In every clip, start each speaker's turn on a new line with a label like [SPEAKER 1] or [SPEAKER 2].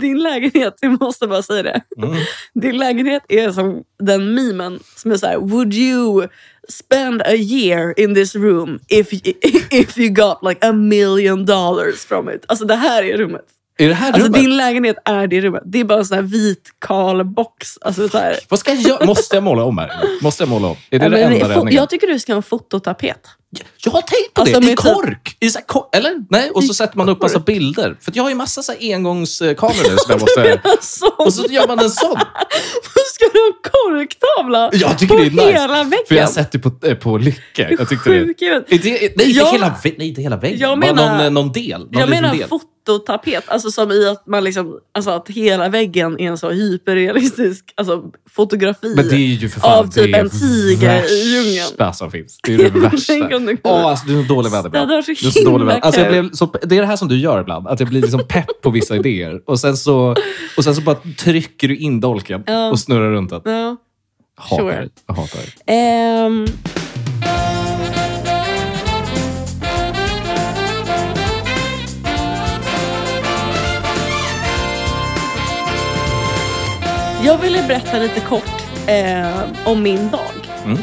[SPEAKER 1] din lägenhet, jag måste bara säga det.
[SPEAKER 2] Mm.
[SPEAKER 1] Din lägenhet är som den memen som är så här, would you spend a year in this room if you, if you got like a million dollars from it? Alltså det här är rummet.
[SPEAKER 2] Är det här
[SPEAKER 1] Alltså
[SPEAKER 2] rummet?
[SPEAKER 1] din lägenhet är det rummet. Det är bara en sån här vit kal box. Alltså, så här.
[SPEAKER 2] Vad ska jag... Måste jag måla om här? Måste jag måla om? Är det
[SPEAKER 1] Ja,
[SPEAKER 2] det
[SPEAKER 1] men
[SPEAKER 2] enda
[SPEAKER 1] fo-
[SPEAKER 2] räddningen?
[SPEAKER 1] jag tycker du ska ha en fototapet.
[SPEAKER 2] Jag har tänkt på
[SPEAKER 1] Alltså,
[SPEAKER 2] det. I
[SPEAKER 1] med typ-
[SPEAKER 2] kork! I så här, ko- eller? Nej, och så sätter man upp massa bilder. För att jag har ju massa så här engångskameror nu som jag måste...
[SPEAKER 1] Alltså,
[SPEAKER 2] Och så gör man en sån.
[SPEAKER 1] ska du ha en korktavla
[SPEAKER 2] Jag tycker
[SPEAKER 1] på
[SPEAKER 2] det är nice.
[SPEAKER 1] hela väggen?
[SPEAKER 2] För jag har sett det på, eh, på Lycke. Jag tyckte det.
[SPEAKER 1] Sjuk i huvudet.
[SPEAKER 2] Är det, nej, inte
[SPEAKER 1] Jag-
[SPEAKER 2] hela, vä- nej, inte hela väggen.
[SPEAKER 1] Jag
[SPEAKER 2] Bara
[SPEAKER 1] menar-
[SPEAKER 2] någon, eh, någon del. Någon
[SPEAKER 1] Jag
[SPEAKER 2] liten
[SPEAKER 1] menar
[SPEAKER 2] del.
[SPEAKER 1] fototapet, alltså som i att, man liksom, alltså att hela väggen är en så hyperrealistisk alltså, fotografi.
[SPEAKER 2] Men det är ju för fan
[SPEAKER 1] av typ
[SPEAKER 2] det
[SPEAKER 1] en tiger i djungeln.
[SPEAKER 2] värsta som finns. Det är det
[SPEAKER 1] Ja,
[SPEAKER 2] värsta.
[SPEAKER 1] tänk om det går.
[SPEAKER 2] Åh, alltså, du är så dålig vän ibland.
[SPEAKER 1] Det hade varit så
[SPEAKER 2] Du är så dålig
[SPEAKER 1] himla
[SPEAKER 2] vän. Alltså, jag
[SPEAKER 1] kul.
[SPEAKER 2] blev så, det är det här som du gör ibland. Att jag blir liksom pepp på vissa idéer. Och sen så, och sen så bara trycker du in dolken
[SPEAKER 1] Ja.
[SPEAKER 2] och snurrar runt den.
[SPEAKER 1] Ja.
[SPEAKER 2] Hatar
[SPEAKER 1] sure.
[SPEAKER 2] det. Jag hatar det.
[SPEAKER 1] Ehm, jag ville berätta lite kort eh, om min dag.
[SPEAKER 2] Mm.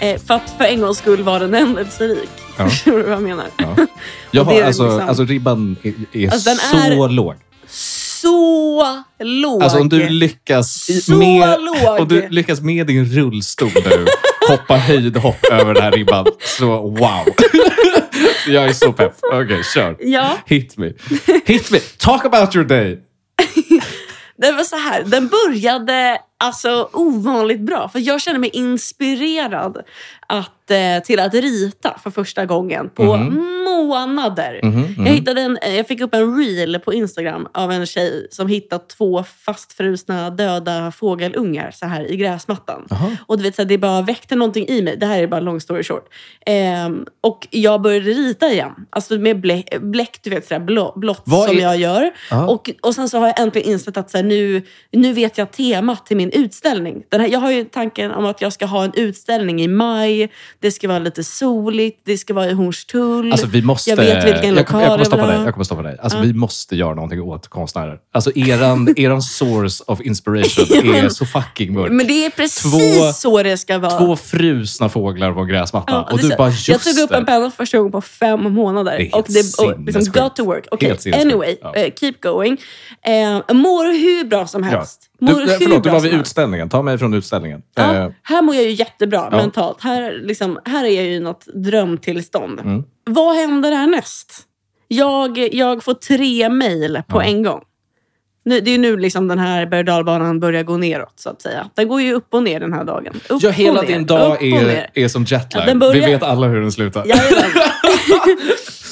[SPEAKER 1] Eh, för att för en gångs skull var den händelserik.
[SPEAKER 2] Ja.
[SPEAKER 1] Förstår du vad jag menar?
[SPEAKER 2] Ja. Jag
[SPEAKER 1] Och
[SPEAKER 2] har,
[SPEAKER 1] det är
[SPEAKER 2] alltså,
[SPEAKER 1] liksom-
[SPEAKER 2] alltså ribban är, är
[SPEAKER 1] Alltså, den
[SPEAKER 2] så
[SPEAKER 1] är-
[SPEAKER 2] låg.
[SPEAKER 1] Så låg.
[SPEAKER 2] Alltså om du lyckas i-
[SPEAKER 1] Så
[SPEAKER 2] med,
[SPEAKER 1] låg.
[SPEAKER 2] om du lyckas med din rullstol nu, hoppa höjdhopp över den här ribban, så wow. Jag är så pepp. Okej, kör.
[SPEAKER 1] Ja.
[SPEAKER 2] Hit me. Hit me. Talk about your day.
[SPEAKER 1] Det var så här, den började alltså ovanligt bra. För jag kände mig inspirerad att, eh, till att rita för första gången på
[SPEAKER 2] Mhm.
[SPEAKER 1] månader. Jag, hittade en, eh, jag fick upp en reel på Instagram av en tjej som hittat två fastfrusna döda fågelungar så här i gräsmattan. Och du vet, så här, det bara väckte någonting i mig. Det här är bara long story short. Ehm, och jag började rita igen. Alltså med blä, bläck, du vet, så här, blå, blått
[SPEAKER 2] Vad
[SPEAKER 1] som
[SPEAKER 2] är-
[SPEAKER 1] jag gör.
[SPEAKER 2] Ja.
[SPEAKER 1] Och, och sen så har jag äntligen insett att så här, nu, nu vet jag temat till min utställning. Den här, jag har ju tanken om att jag ska ha en utställning i maj. Det ska vara lite soligt. Det ska vara i Hornstull.
[SPEAKER 2] Alltså vi måste...
[SPEAKER 1] Jag vet vilken
[SPEAKER 2] jag, kommer-
[SPEAKER 1] lokal
[SPEAKER 2] jag kommer
[SPEAKER 1] jag vill
[SPEAKER 2] stoppa dig.
[SPEAKER 1] ha.
[SPEAKER 2] Jag kommer stoppa dig. Alltså vi måste göra någonting åt konstnärer. Alltså eran, eran source of inspiration
[SPEAKER 1] Ja, men-
[SPEAKER 2] är så fucking mörk.
[SPEAKER 1] Men det är precis
[SPEAKER 2] Två-
[SPEAKER 1] så det ska vara.
[SPEAKER 2] Två frusna fåglar på en gräsmatta.
[SPEAKER 1] Ja,
[SPEAKER 2] och
[SPEAKER 1] det är
[SPEAKER 2] du
[SPEAKER 1] så-
[SPEAKER 2] bara, just
[SPEAKER 1] jag tog upp
[SPEAKER 2] det.
[SPEAKER 1] en penna för första gången på fem månader.
[SPEAKER 2] Det
[SPEAKER 1] och
[SPEAKER 2] är helt
[SPEAKER 1] det, och liksom,
[SPEAKER 2] sinnessjukt.
[SPEAKER 1] got to work. Okay.
[SPEAKER 2] Helt sinnessjukt,
[SPEAKER 1] Anyway,
[SPEAKER 2] ja.
[SPEAKER 1] eh, keep going. Eh, mår hur bra som
[SPEAKER 2] Ja.
[SPEAKER 1] helst.
[SPEAKER 2] Du,
[SPEAKER 1] Mår
[SPEAKER 2] nej,
[SPEAKER 1] hur
[SPEAKER 2] förlåt, du
[SPEAKER 1] bra
[SPEAKER 2] var
[SPEAKER 1] som
[SPEAKER 2] vid
[SPEAKER 1] helst.
[SPEAKER 2] utställningen. Ta mig från utställningen.
[SPEAKER 1] Ja,
[SPEAKER 2] Eh,
[SPEAKER 1] här mår jag ju jättebra
[SPEAKER 2] ja.
[SPEAKER 1] mentalt. Här, liksom, här är jag ju i något drömtillstånd.
[SPEAKER 2] Mm.
[SPEAKER 1] Vad händer härnäst? Jag, jag får tre mejl på
[SPEAKER 2] Ja.
[SPEAKER 1] en gång. Nu, det är ju nu liksom den här berg och dalbanan börjar gå neråt. så att säga. Den går ju upp och ner den här dagen. Upp
[SPEAKER 2] ja, hela
[SPEAKER 1] och ner,
[SPEAKER 2] din
[SPEAKER 1] upp
[SPEAKER 2] dag
[SPEAKER 1] och
[SPEAKER 2] är,
[SPEAKER 1] ner.
[SPEAKER 2] är som jetlag.
[SPEAKER 1] Ja, den börjar-
[SPEAKER 2] Vi vet alla hur den slutar.
[SPEAKER 1] Jajamän.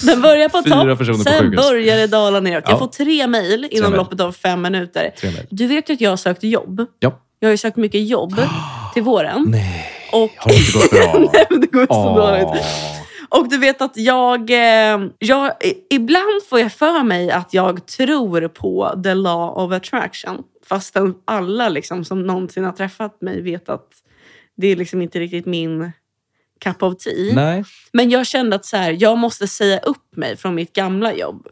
[SPEAKER 1] den börjar på
[SPEAKER 2] Fyra
[SPEAKER 1] topp,
[SPEAKER 2] personer på
[SPEAKER 1] sen
[SPEAKER 2] sjukhus.
[SPEAKER 1] börjar det dala neråt.
[SPEAKER 2] Ja.
[SPEAKER 1] Jag får tre mejl inom
[SPEAKER 2] mejl.
[SPEAKER 1] loppet av fem minuter.
[SPEAKER 2] Tre mejl.
[SPEAKER 1] Du vet ju att jag har sökt jobb.
[SPEAKER 2] Ja.
[SPEAKER 1] Jag har ju sökt mycket jobb till våren.
[SPEAKER 2] Nej,
[SPEAKER 1] Och...
[SPEAKER 2] har det inte gått bra?
[SPEAKER 1] Nej, men det går så
[SPEAKER 2] Åh.
[SPEAKER 1] dåligt. Och du vet att jag, eh, jag... i- Ibland får jag för mig att jag tror på the law of attraction. Fastän alla liksom som någonsin har träffat mig vet att det är liksom inte riktigt min cup of tea.
[SPEAKER 2] Nej.
[SPEAKER 1] Men jag kände att så här, jag måste säga upp mig från mitt gamla jobb.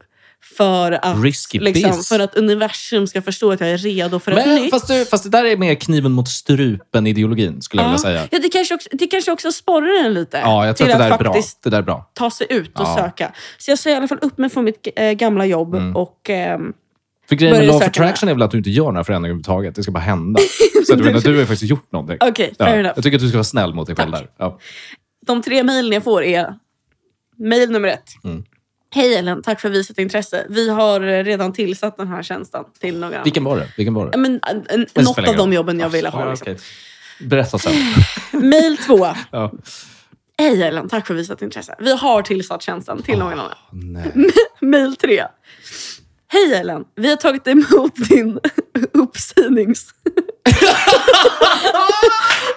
[SPEAKER 1] För att,
[SPEAKER 2] Risky
[SPEAKER 1] liksom,
[SPEAKER 2] biz.
[SPEAKER 1] för att universum ska förstå att jag är redo för ett
[SPEAKER 2] Men,
[SPEAKER 1] nytt.
[SPEAKER 2] fast, du, fast det där är mer kniven mot strupen-ideologin, skulle jag vilja säga.
[SPEAKER 1] Ja, det, kanske också, det kanske också sporrar en lite
[SPEAKER 2] Ja, jag tror
[SPEAKER 1] till
[SPEAKER 2] att det
[SPEAKER 1] att
[SPEAKER 2] där är bra.
[SPEAKER 1] faktiskt
[SPEAKER 2] Det där är bra.
[SPEAKER 1] ta sig ut och
[SPEAKER 2] Ja. Mm.
[SPEAKER 1] söka. Så jag säger i alla fall upp mig från mitt eh, gamla jobb. Och, ehm,
[SPEAKER 2] För grejen med
[SPEAKER 1] Börjar
[SPEAKER 2] law of
[SPEAKER 1] söka
[SPEAKER 2] attraction är väl att du inte gör några förändringar överhuvudtaget. Det ska bara hända. Så att du, menar, du har ju faktiskt gjort någonting.
[SPEAKER 1] Okej,
[SPEAKER 2] ja.
[SPEAKER 1] fair enough.
[SPEAKER 2] Jag tycker att du ska vara snäll mot dig själv
[SPEAKER 1] Tack.
[SPEAKER 2] där. Ja.
[SPEAKER 1] de tre mejlen jag får är mejl nummer ett.
[SPEAKER 2] Mm.
[SPEAKER 1] Hej Ellen, tack för visat intresse. Vi har eh, redan tillsatt den här tjänsten till några andra.
[SPEAKER 2] Vilken var det? Vilken var det?
[SPEAKER 1] Ja, Men, en, en,
[SPEAKER 2] Det
[SPEAKER 1] något
[SPEAKER 2] spelar
[SPEAKER 1] av
[SPEAKER 2] ingen roll.
[SPEAKER 1] de jobben jag ville
[SPEAKER 2] Ja,
[SPEAKER 1] ha. Liksom.
[SPEAKER 2] okej. Berätta sen.
[SPEAKER 1] Mejl två.
[SPEAKER 2] Ja.
[SPEAKER 1] Hej Ellen, tack för visat intresse. Vi har tillsatt tjänsten till någon annan.
[SPEAKER 2] Nej.
[SPEAKER 1] Mail 3. Hej Ellen, vi har tagit emot din uppsägnings...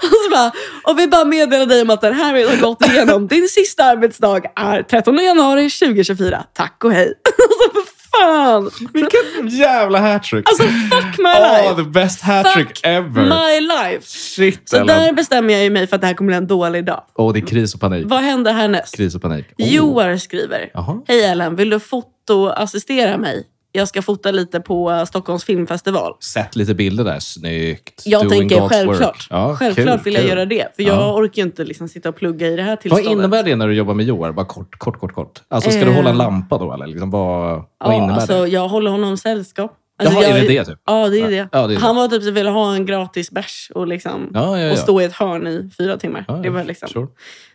[SPEAKER 1] och, så bara, och vi bara meddelar dig om att den här har gått igenom. Din sista arbetsdag är 13 januari 2024. Tack och hej. alltså för fan!
[SPEAKER 2] Vilken jävla hattrick!
[SPEAKER 1] Alltså fuck my
[SPEAKER 2] Åh,
[SPEAKER 1] life!
[SPEAKER 2] the best hattrick
[SPEAKER 1] fuck
[SPEAKER 2] ever!
[SPEAKER 1] my life!
[SPEAKER 2] Shit,
[SPEAKER 1] Så
[SPEAKER 2] Ellen.
[SPEAKER 1] där bestämmer jag ju mig för att det här kommer bli en dålig dag.
[SPEAKER 2] Åh, det är kris och panik.
[SPEAKER 1] Vad händer härnäst?
[SPEAKER 2] Kris och panik. Åh.
[SPEAKER 1] Joar skriver.
[SPEAKER 2] Jaha.
[SPEAKER 1] Hej Ellen, vill du fotoassistera mig? jag ska fota lite på eh, Stockholms filmfestival.
[SPEAKER 2] Sett lite bilder där. Snyggt.
[SPEAKER 1] Jag
[SPEAKER 2] Doing
[SPEAKER 1] tänker
[SPEAKER 2] God's
[SPEAKER 1] självklart.
[SPEAKER 2] work. Ja,
[SPEAKER 1] självklart
[SPEAKER 2] kul,
[SPEAKER 1] vill
[SPEAKER 2] kul.
[SPEAKER 1] jag göra det. För
[SPEAKER 2] Ja.
[SPEAKER 1] jag orkar ju inte liksom sitta och plugga i det här
[SPEAKER 2] Vad
[SPEAKER 1] tillståndet.
[SPEAKER 2] innebär det när du jobbar med Joar? Bara kort, kort, kort. kort. Alltså, ska du
[SPEAKER 1] Eh.
[SPEAKER 2] hålla en lampa då? Eller liksom, vad, vad
[SPEAKER 1] Ja,
[SPEAKER 2] innebär
[SPEAKER 1] alltså,
[SPEAKER 2] det?
[SPEAKER 1] jag håller honom sällskap. Alltså,
[SPEAKER 2] Jaha,
[SPEAKER 1] jag,
[SPEAKER 2] är det det typ?
[SPEAKER 1] Ja, det är det.
[SPEAKER 2] Ja, det är det.
[SPEAKER 1] Han var typ som ville ha en gratis bärs och, liksom,
[SPEAKER 2] Ja, ja, ja.
[SPEAKER 1] och stå i ett hörn i fyra timmar.
[SPEAKER 2] Ja,
[SPEAKER 1] det var liksom...
[SPEAKER 2] sure.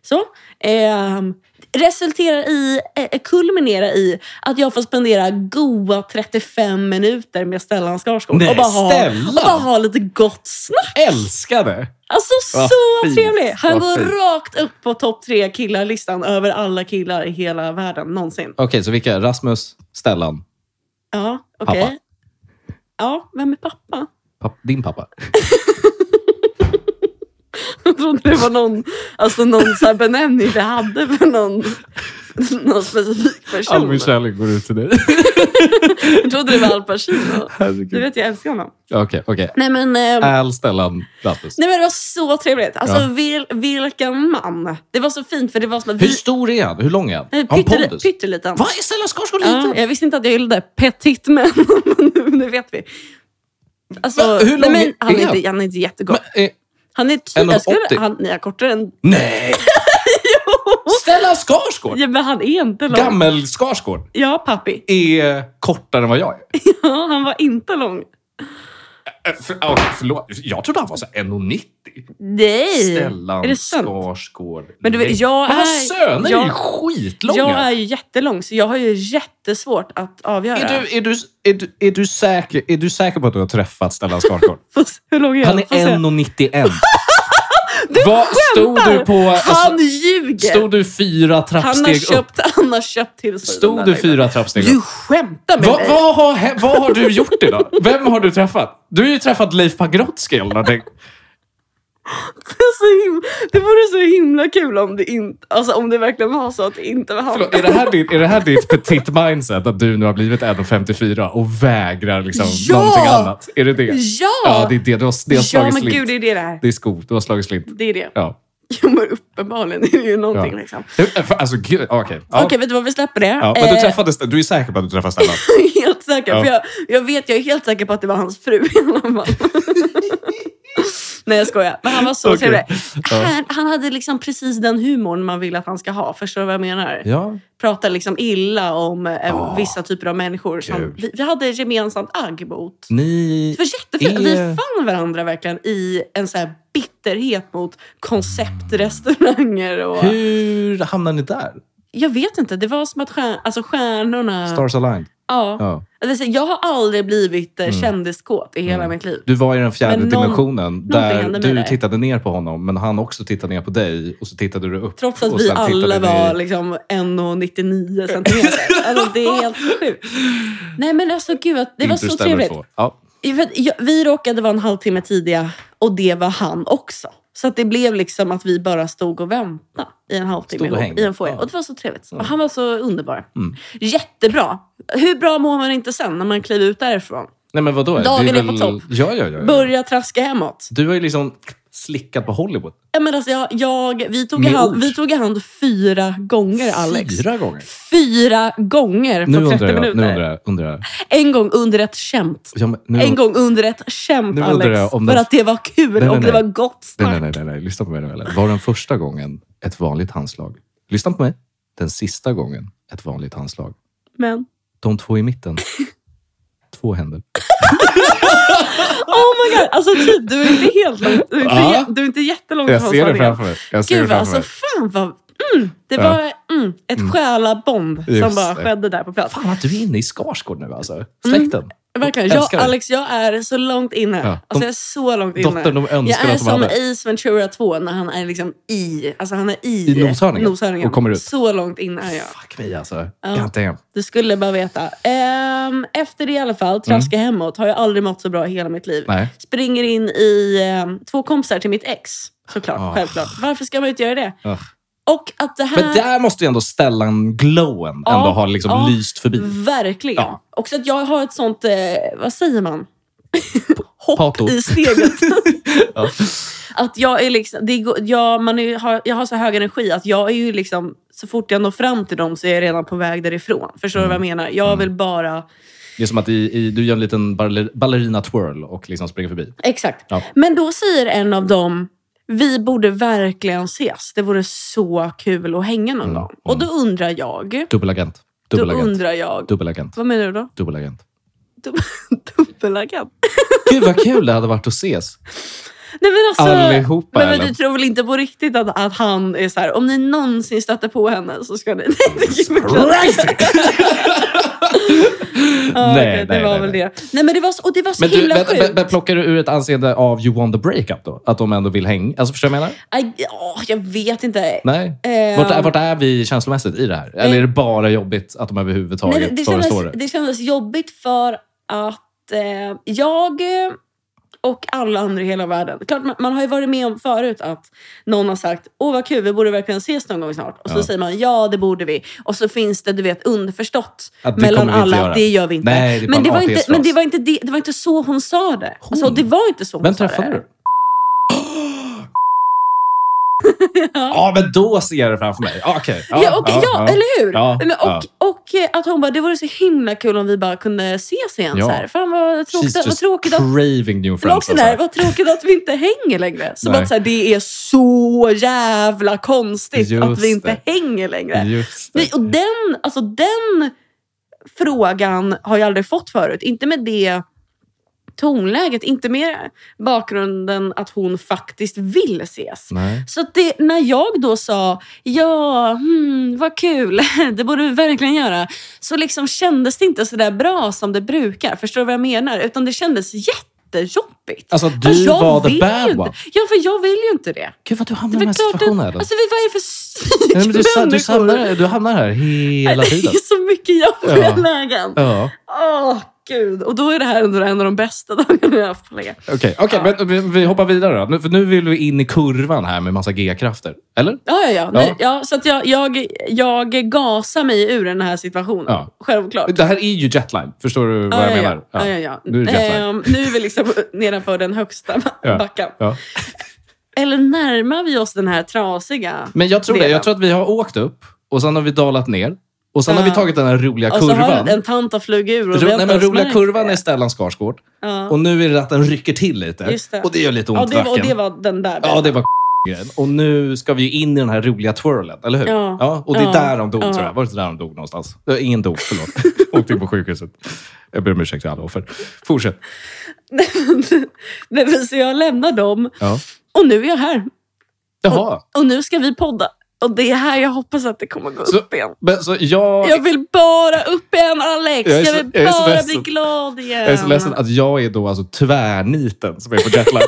[SPEAKER 1] Så. Ehm, resulterar i, eh, kulminerar i att jag får spendera goa 35 minuter med Stellan Skarsgård.
[SPEAKER 2] Nej,
[SPEAKER 1] och, bara ha,
[SPEAKER 2] Stellan!
[SPEAKER 1] och bara ha lite gott snack.
[SPEAKER 2] Älskar det!
[SPEAKER 1] Alltså
[SPEAKER 2] Vad
[SPEAKER 1] så
[SPEAKER 2] fint,
[SPEAKER 1] trevlig! Han
[SPEAKER 2] vad
[SPEAKER 1] går
[SPEAKER 2] fint.
[SPEAKER 1] rakt upp på topp tre killar-listan över alla killar i hela världen någonsin.
[SPEAKER 2] Okej, så vilka? Rasmus, Stellan,
[SPEAKER 1] Ja, okej.
[SPEAKER 2] Pappa.
[SPEAKER 1] Ja, vem är pappa?
[SPEAKER 2] papp, din pappa.
[SPEAKER 1] Jag trodde det var någon, alltså någon så här benämning vi hade för någon, någon specifik person.
[SPEAKER 2] kärlek går ut till dig.
[SPEAKER 1] Jag trodde det var Al Pacino. Du
[SPEAKER 2] Herregud.
[SPEAKER 1] vet, jag älskar honom.
[SPEAKER 2] Okej, okej.
[SPEAKER 1] Nej men, eh,
[SPEAKER 2] Al, Stellan, Rasmus.
[SPEAKER 1] nej, men det var så trevligt. Alltså,
[SPEAKER 2] Äh. Ja.
[SPEAKER 1] vil, vilken man. Det var så fint för det var som att
[SPEAKER 2] Hur
[SPEAKER 1] vi...
[SPEAKER 2] stor är han? Hur lång är han?
[SPEAKER 1] Eh,
[SPEAKER 2] Har han
[SPEAKER 1] pytteli-
[SPEAKER 2] pondus?
[SPEAKER 1] Pytteliten.
[SPEAKER 2] Vad Är Stellan Skarsgård
[SPEAKER 1] Ja,
[SPEAKER 2] liten?
[SPEAKER 1] jag visste inte att jag gillade petit men nu- nu vet vi. Alltså,
[SPEAKER 2] Va? Hur
[SPEAKER 1] nej,
[SPEAKER 2] lång
[SPEAKER 1] men,
[SPEAKER 2] är
[SPEAKER 1] han, är
[SPEAKER 2] han?
[SPEAKER 1] inte, han är inte jättegod.
[SPEAKER 2] Men, eh,
[SPEAKER 1] han är, ty-
[SPEAKER 2] 1,80?
[SPEAKER 1] jag skulle, han, nej, jag är kortare än...
[SPEAKER 2] nej! Stellan Skarsgård!
[SPEAKER 1] Ja, men han är inte lång.
[SPEAKER 2] Gammel Skarsgård
[SPEAKER 1] Ja, pappi.
[SPEAKER 2] är kortare än vad jag är.
[SPEAKER 1] Ja, han var inte lång.
[SPEAKER 2] Eh, För, ja, förlåt, jag trodde han var så här 1,90.
[SPEAKER 1] Nej!
[SPEAKER 2] Stellan
[SPEAKER 1] Är det sant?
[SPEAKER 2] Skarsgård.
[SPEAKER 1] Men du vet,
[SPEAKER 2] Nej.
[SPEAKER 1] jag
[SPEAKER 2] Men
[SPEAKER 1] är-
[SPEAKER 2] Hans söner är
[SPEAKER 1] jag-
[SPEAKER 2] ju skitlånga.
[SPEAKER 1] Jag är ju jättelång, så jag har ju jättesvårt att avgöra.
[SPEAKER 2] Är du, är, du, är, du, är, du säker, är du säker på att du har träffat Stellan Skarsgård?
[SPEAKER 1] Får se- Hur lång är
[SPEAKER 2] Han är
[SPEAKER 1] Får se.
[SPEAKER 2] 1,91. Vad Stod du på...
[SPEAKER 1] Han
[SPEAKER 2] Alltså,
[SPEAKER 1] ljuger!
[SPEAKER 2] stod du fyra
[SPEAKER 1] han, har
[SPEAKER 2] trappsteg upp?
[SPEAKER 1] köpt, han har köpt till sig
[SPEAKER 2] Stod
[SPEAKER 1] den
[SPEAKER 2] du
[SPEAKER 1] där lägenheten.
[SPEAKER 2] fyra trappsteg
[SPEAKER 1] Du
[SPEAKER 2] upp?
[SPEAKER 1] skämtar med
[SPEAKER 2] Va,
[SPEAKER 1] mig!
[SPEAKER 2] vad, har, hä- vad har du gjort idag? Vem har du träffat? Du har ju träffat Leif Pagrotsky eller någonting.
[SPEAKER 1] Det, är så himla, det vore så himla kul om det, inte, alltså, om det verkligen var så att det inte var han.
[SPEAKER 2] Förlåt, är, det här ditt, är det här ditt petit mindset att du nu har blivit 1,54 och vägrar liksom
[SPEAKER 1] Ja!
[SPEAKER 2] någonting annat? Är det det?
[SPEAKER 1] Ja!
[SPEAKER 2] Ja, det är det. Du har, det har
[SPEAKER 1] ja,
[SPEAKER 2] slagit
[SPEAKER 1] men
[SPEAKER 2] slint.
[SPEAKER 1] gud, det är det det här.
[SPEAKER 2] Det är skov. Du har slagit slint.
[SPEAKER 1] Det är det.
[SPEAKER 2] Ja.
[SPEAKER 1] Jo, men uppenbarligen är det ju någonting.
[SPEAKER 2] Ja.
[SPEAKER 1] Liksom.
[SPEAKER 2] Alltså, gud. Okej. Ja.
[SPEAKER 1] Okej, vet du vad? Vi släpper det.
[SPEAKER 2] Ja, men du,
[SPEAKER 1] Eh,
[SPEAKER 2] träffades, du är säker på att du träffade Stellan?
[SPEAKER 1] helt säker.
[SPEAKER 2] Ja.
[SPEAKER 1] För jag, jag vet, jag är helt säker på att det var hans fru i alla fall. Nej, jag skojar. Men han var så
[SPEAKER 2] Okej.
[SPEAKER 1] trevlig.
[SPEAKER 2] Ja.
[SPEAKER 1] Han, han hade liksom precis den humorn man vill att han ska ha. Förstår du vad jag menar?
[SPEAKER 2] Ja.
[SPEAKER 1] Pratar liksom illa om eh,
[SPEAKER 2] Ja.
[SPEAKER 1] vissa typer av människor. Som,
[SPEAKER 2] Kul.
[SPEAKER 1] vi, vi hade ett gemensamt agg mot.
[SPEAKER 2] Ni...
[SPEAKER 1] Det var jättefint. Vi
[SPEAKER 2] Är-
[SPEAKER 1] fann varandra verkligen i en så här bitterhet mot konceptrestauranger. Och,
[SPEAKER 2] Hur hamnade ni där?
[SPEAKER 1] jag vet inte. Det var som att stjär, alltså stjärnorna...
[SPEAKER 2] Stars aligned.
[SPEAKER 1] Ja.
[SPEAKER 2] Ja.
[SPEAKER 1] Alltså, jag har aldrig blivit eh, kändiskåt i hela
[SPEAKER 2] Mm.
[SPEAKER 1] mitt liv.
[SPEAKER 2] Du var i den fjärde
[SPEAKER 1] Men någon-
[SPEAKER 2] dimensionen
[SPEAKER 1] hände
[SPEAKER 2] där
[SPEAKER 1] med
[SPEAKER 2] du
[SPEAKER 1] dig.
[SPEAKER 2] tittade ner på honom men han också tittade ner på dig och så tittade du upp.
[SPEAKER 1] Trots att
[SPEAKER 2] och
[SPEAKER 1] vi
[SPEAKER 2] sen tittade
[SPEAKER 1] alla
[SPEAKER 2] ni-
[SPEAKER 1] var liksom 1,99 centimeter. alltså, det är helt sjukt. Nej men alltså gud, att- det var så
[SPEAKER 2] Interstellar
[SPEAKER 1] trevligt.
[SPEAKER 2] två. Ja.
[SPEAKER 1] För att jag- Vi råkade vara en halvtimme tidiga och det var han också. Så att det blev liksom att vi bara stod och väntade i en halvtimme
[SPEAKER 2] Stod och
[SPEAKER 1] ihop,
[SPEAKER 2] hängde.
[SPEAKER 1] i en foyer.
[SPEAKER 2] Ja.
[SPEAKER 1] Och det var så trevligt.
[SPEAKER 2] Ja.
[SPEAKER 1] Och han var så underbar.
[SPEAKER 2] Mm.
[SPEAKER 1] Jättebra. Hur bra mår man inte sen när man kliver ut därifrån?
[SPEAKER 2] Nej men vadå?
[SPEAKER 1] Dagen
[SPEAKER 2] Det
[SPEAKER 1] är på topp.
[SPEAKER 2] Ja, ja, ja. ja.
[SPEAKER 1] Börja traska hemåt.
[SPEAKER 2] Du har ju liksom slickat på Hollywood.
[SPEAKER 1] Ja, men alltså jag, jag, vi, tog i
[SPEAKER 2] Med
[SPEAKER 1] hand,
[SPEAKER 2] ord.
[SPEAKER 1] vi tog i hand fyra gånger, Alex.
[SPEAKER 2] Fyra gånger.
[SPEAKER 1] Fyra gånger på
[SPEAKER 2] Nu
[SPEAKER 1] 30
[SPEAKER 2] undrar jag.
[SPEAKER 1] minuter.
[SPEAKER 2] Nu undrar jag. Undrar jag.
[SPEAKER 1] En gång under ett skämt.
[SPEAKER 2] Ja, men, nu,
[SPEAKER 1] En gång under ett skämt,
[SPEAKER 2] Nu undrar
[SPEAKER 1] Alex.
[SPEAKER 2] jag om
[SPEAKER 1] för
[SPEAKER 2] den-
[SPEAKER 1] att det var kul
[SPEAKER 2] nej,
[SPEAKER 1] och det
[SPEAKER 2] nej.
[SPEAKER 1] var gott snack.
[SPEAKER 2] Nej, nej, nej, nej, nej. Lyssna på mig nu. Eller? Var den första gången ett vanligt handslag? Lyssna på mig. Den sista gången ett vanligt handslag.
[SPEAKER 1] Men,
[SPEAKER 2] De två i mitten. Två händer.
[SPEAKER 1] oh my god! Alltså typ, du är inte helt långt. Du är inte,
[SPEAKER 2] Ja.
[SPEAKER 1] jä- du är inte jättelångt
[SPEAKER 2] Jag
[SPEAKER 1] från
[SPEAKER 2] ser det
[SPEAKER 1] sanningen.
[SPEAKER 2] framför mig. Jag ser det
[SPEAKER 1] Gud,
[SPEAKER 2] framför
[SPEAKER 1] alltså fan
[SPEAKER 2] mig.
[SPEAKER 1] vad... Mm, det
[SPEAKER 2] Ja.
[SPEAKER 1] var mm, ett själabond som
[SPEAKER 2] Just
[SPEAKER 1] bara
[SPEAKER 2] det.
[SPEAKER 1] skedde där på plats.
[SPEAKER 2] Fan vad du är inne i Skarsgård nu
[SPEAKER 1] Mm.
[SPEAKER 2] alltså. Släkten.
[SPEAKER 1] Verkligen.
[SPEAKER 2] Älskar
[SPEAKER 1] Jag,
[SPEAKER 2] det.
[SPEAKER 1] Alex, jag är så långt inne.
[SPEAKER 2] Ja, de-
[SPEAKER 1] alltså, jag är så långt inne.
[SPEAKER 2] Dottern de
[SPEAKER 1] Jag
[SPEAKER 2] önskar
[SPEAKER 1] är
[SPEAKER 2] att de
[SPEAKER 1] som
[SPEAKER 2] hade.
[SPEAKER 1] Ace Ventura 2 när han är liksom i, alltså han är i,
[SPEAKER 2] I noshörningen. Och kommer ut.
[SPEAKER 1] Så långt in är jag.
[SPEAKER 2] Fuck me alltså. God damn.
[SPEAKER 1] Du skulle bara veta. Ehm, efter det i alla fall, traska
[SPEAKER 2] Mm.
[SPEAKER 1] hemåt, har jag aldrig mått så bra i hela mitt liv.
[SPEAKER 2] Nej.
[SPEAKER 1] Springer in i ehm, två kompisar till mitt ex. Såklart,
[SPEAKER 2] Ah.
[SPEAKER 1] självklart. Varför ska man inte göra det?
[SPEAKER 2] Ugh.
[SPEAKER 1] Och att det här...
[SPEAKER 2] Men där måste ju ändå Stellan glowen
[SPEAKER 1] Ja,
[SPEAKER 2] ändå ha liksom
[SPEAKER 1] ja.
[SPEAKER 2] lyst förbi.
[SPEAKER 1] Verkligen.
[SPEAKER 2] Ja.
[SPEAKER 1] Också att jag har ett sånt, eh, vad säger man? Hopp
[SPEAKER 2] Pato.
[SPEAKER 1] i steget.
[SPEAKER 2] Ja.
[SPEAKER 1] Att jag är liksom, det går, jag, man är, har, jag har så hög energi att jag är ju
[SPEAKER 2] Mm.
[SPEAKER 1] liksom, så fort jag når fram till dem så är jag redan på väg därifrån. Förstår du vad jag menar? Jag vill bara
[SPEAKER 2] Det är som att i, i, du gör en liten baller, ballerina-twirl och liksom springer förbi.
[SPEAKER 1] Exakt.
[SPEAKER 2] Ja.
[SPEAKER 1] Men då säger en av dem, vi borde verkligen ses. Det vore så kul att hänga någon
[SPEAKER 2] Mm,
[SPEAKER 1] dag. Och då undrar jag,
[SPEAKER 2] Dubbelagent.
[SPEAKER 1] då
[SPEAKER 2] Dubbelagent.
[SPEAKER 1] undrar jag,
[SPEAKER 2] Dubbelagent.
[SPEAKER 1] vad menar du då?
[SPEAKER 2] Dubbelagent.
[SPEAKER 1] Dub- Dubbelagent?
[SPEAKER 2] Gud vad kul det hade varit att ses.
[SPEAKER 1] Nej men alltså,
[SPEAKER 2] Allihopa,
[SPEAKER 1] men, men
[SPEAKER 2] eller?
[SPEAKER 1] du tror väl inte på riktigt att, att han är så här, om ni någonsin stöter på henne så ska ni... Nej, det är ju klart. Ja,
[SPEAKER 2] Nej,
[SPEAKER 1] okej, det
[SPEAKER 2] nej,
[SPEAKER 1] var
[SPEAKER 2] nej,
[SPEAKER 1] väl det. Nej men det var så, och det var så
[SPEAKER 2] Men du,
[SPEAKER 1] himla
[SPEAKER 2] men,
[SPEAKER 1] sjukt.
[SPEAKER 2] men, men plockar du ur ett anseende av you want the breakup då? Att de ändå vill hänga? Alltså förstår du vad jag menar?
[SPEAKER 1] Aj, åh, jag vet inte.
[SPEAKER 2] Nej.
[SPEAKER 1] Eh,
[SPEAKER 2] Vart, är- vart är vi känslomässigt i det här? Eller är det bara jobbigt att de överhuvudtaget
[SPEAKER 1] Nej, det, det,
[SPEAKER 2] förestår det?
[SPEAKER 1] kändes, det kändes jobbigt för att eh, jag eh, och alla andra i hela världen... Klart, man, man har ju varit med om förut att någon har sagt åh vad kul, vi borde verkligen ses någon gång snart. Och så
[SPEAKER 2] Ja.
[SPEAKER 1] säger man ja, det borde vi. Och så finns det du vet, underförstått
[SPEAKER 2] Att det
[SPEAKER 1] mellan
[SPEAKER 2] kommer vi
[SPEAKER 1] alla
[SPEAKER 2] inte göra.
[SPEAKER 1] att det gör vi inte.
[SPEAKER 2] Nej, det är bara
[SPEAKER 1] men, det
[SPEAKER 2] en
[SPEAKER 1] var inte,
[SPEAKER 2] artighetsfras.
[SPEAKER 1] men det var inte, det, det var inte så hon sa det. Alltså,
[SPEAKER 2] Hon?
[SPEAKER 1] det var inte så hon
[SPEAKER 2] Vem
[SPEAKER 1] sa
[SPEAKER 2] träffade
[SPEAKER 1] det.
[SPEAKER 2] du? Ja, men då ser jag det framför mig. Ah, Okej.
[SPEAKER 1] Ja, och, ja, eller hur?
[SPEAKER 2] Ja,
[SPEAKER 1] men, och, och eh, att hon bara, det vore så himla kul om vi bara kunde ses igen.
[SPEAKER 2] Ja.
[SPEAKER 1] Så här. Fan vad tråkigt,
[SPEAKER 2] She's
[SPEAKER 1] vad
[SPEAKER 2] just
[SPEAKER 1] tråkigt att
[SPEAKER 2] craving new
[SPEAKER 1] Men
[SPEAKER 2] friends. alltså.
[SPEAKER 1] också där, vad tråkigt att vi inte hänger längre. Som
[SPEAKER 2] Nej.
[SPEAKER 1] att så här, det är så jävla konstigt att
[SPEAKER 2] Just
[SPEAKER 1] vi inte
[SPEAKER 2] det.
[SPEAKER 1] hänger längre.
[SPEAKER 2] Just det.
[SPEAKER 1] Nej, och den, alltså, den frågan har jag aldrig fått förut. Inte med det tonläget, inte med bakgrunden att hon faktiskt vill ses.
[SPEAKER 2] Nej.
[SPEAKER 1] Så att det, när jag då sa ja, hmm, vad kul, det borde vi verkligen göra. Så liksom kändes det inte så där bra som det brukar. Förstår du vad jag menar? Utan det kändes jättejobbigt.
[SPEAKER 2] Alltså,
[SPEAKER 1] För
[SPEAKER 2] du
[SPEAKER 1] jag
[SPEAKER 2] var the
[SPEAKER 1] vill ju
[SPEAKER 2] bad
[SPEAKER 1] inte-
[SPEAKER 2] one.
[SPEAKER 1] Ja, för jag vill ju inte det.
[SPEAKER 2] Gud, vad du hamnar
[SPEAKER 1] Det
[SPEAKER 2] i
[SPEAKER 1] är
[SPEAKER 2] den
[SPEAKER 1] väl
[SPEAKER 2] här
[SPEAKER 1] klart att,
[SPEAKER 2] situationen. Här då.
[SPEAKER 1] alltså, vi- vad är det för
[SPEAKER 2] Nej, men du, sa- du,
[SPEAKER 1] psykmänniskor?
[SPEAKER 2] samlar, du hamnar här hela tiden.
[SPEAKER 1] Det är så mycket jobbiga
[SPEAKER 2] Ja.
[SPEAKER 1] lägen.
[SPEAKER 2] Ja.
[SPEAKER 1] Åh, gud. Och då är det här ändå en av de bästa dagarna jag har haft på länge.
[SPEAKER 2] Okej, okay,
[SPEAKER 1] Ja.
[SPEAKER 2] men vi, vi hoppar vidare då. Nu, för nu vill vi in i kurvan här med massa g-krafter. Eller?
[SPEAKER 1] Ja, ja, ja. Nej, ja så att jag, jag, jag gasar mig ur den här situationen.
[SPEAKER 2] Ja.
[SPEAKER 1] Självklart.
[SPEAKER 2] Det här är ju jetline. Förstår du vad jag
[SPEAKER 1] ja,
[SPEAKER 2] menar?
[SPEAKER 1] Ja, ja, ja.
[SPEAKER 2] Nu är det jetlag.
[SPEAKER 1] Ehm, nu är vi liksom nedanför den högsta
[SPEAKER 2] Ja.
[SPEAKER 1] backen.
[SPEAKER 2] Ja.
[SPEAKER 1] Eller närmar vi oss den här trasiga?
[SPEAKER 2] Men jag tror det.
[SPEAKER 1] Delen.
[SPEAKER 2] Jag tror att vi har åkt upp och sen har vi dalat ner. Och sen
[SPEAKER 1] Ja.
[SPEAKER 2] har vi tagit den här roliga
[SPEAKER 1] Och så
[SPEAKER 2] kurvan.
[SPEAKER 1] Alltså, har en tant har flugit ur. Och vi
[SPEAKER 2] Ro,
[SPEAKER 1] har
[SPEAKER 2] nej,
[SPEAKER 1] inte
[SPEAKER 2] men
[SPEAKER 1] ens
[SPEAKER 2] roliga
[SPEAKER 1] märkt
[SPEAKER 2] kurvan
[SPEAKER 1] det.
[SPEAKER 2] är Stellan Skarsgård.
[SPEAKER 1] Ja.
[SPEAKER 2] Och nu är det att den rycker till lite.
[SPEAKER 1] Just det.
[SPEAKER 2] Och det gör lite
[SPEAKER 1] Ja,
[SPEAKER 2] ont i
[SPEAKER 1] det, var- och
[SPEAKER 2] nacken.
[SPEAKER 1] det var den där.
[SPEAKER 2] Ja,
[SPEAKER 1] biten.
[SPEAKER 2] det var grejen. Och nu ska vi ju in i den här roliga twirlen, eller hur?
[SPEAKER 1] Ja.
[SPEAKER 2] och det är
[SPEAKER 1] Ja.
[SPEAKER 2] där de dog,
[SPEAKER 1] Ja.
[SPEAKER 2] tror jag. Var det inte där de dog någonstans? Äh, Ingen dog, förlåt. Åkte in på sjukhuset. Jag ber om ursäkt till alla offer. Fortsätt.
[SPEAKER 1] Nej, men så jag lämnar dem
[SPEAKER 2] Ja.
[SPEAKER 1] och nu är jag här.
[SPEAKER 2] Jaha.
[SPEAKER 1] Och nu ska vi podda. Och det är här jag hoppas att det kommer gå
[SPEAKER 2] Så-
[SPEAKER 1] upp igen.
[SPEAKER 2] Men, så jag,
[SPEAKER 1] Jag vill bara upp igen, Alex!
[SPEAKER 2] Jag
[SPEAKER 1] Jag,
[SPEAKER 2] är så-
[SPEAKER 1] vill
[SPEAKER 2] jag är så
[SPEAKER 1] bara bli
[SPEAKER 2] ledsen.
[SPEAKER 1] glad igen.
[SPEAKER 2] jag är så ledsen att jag är då alltså tvärniten som är på jetlag.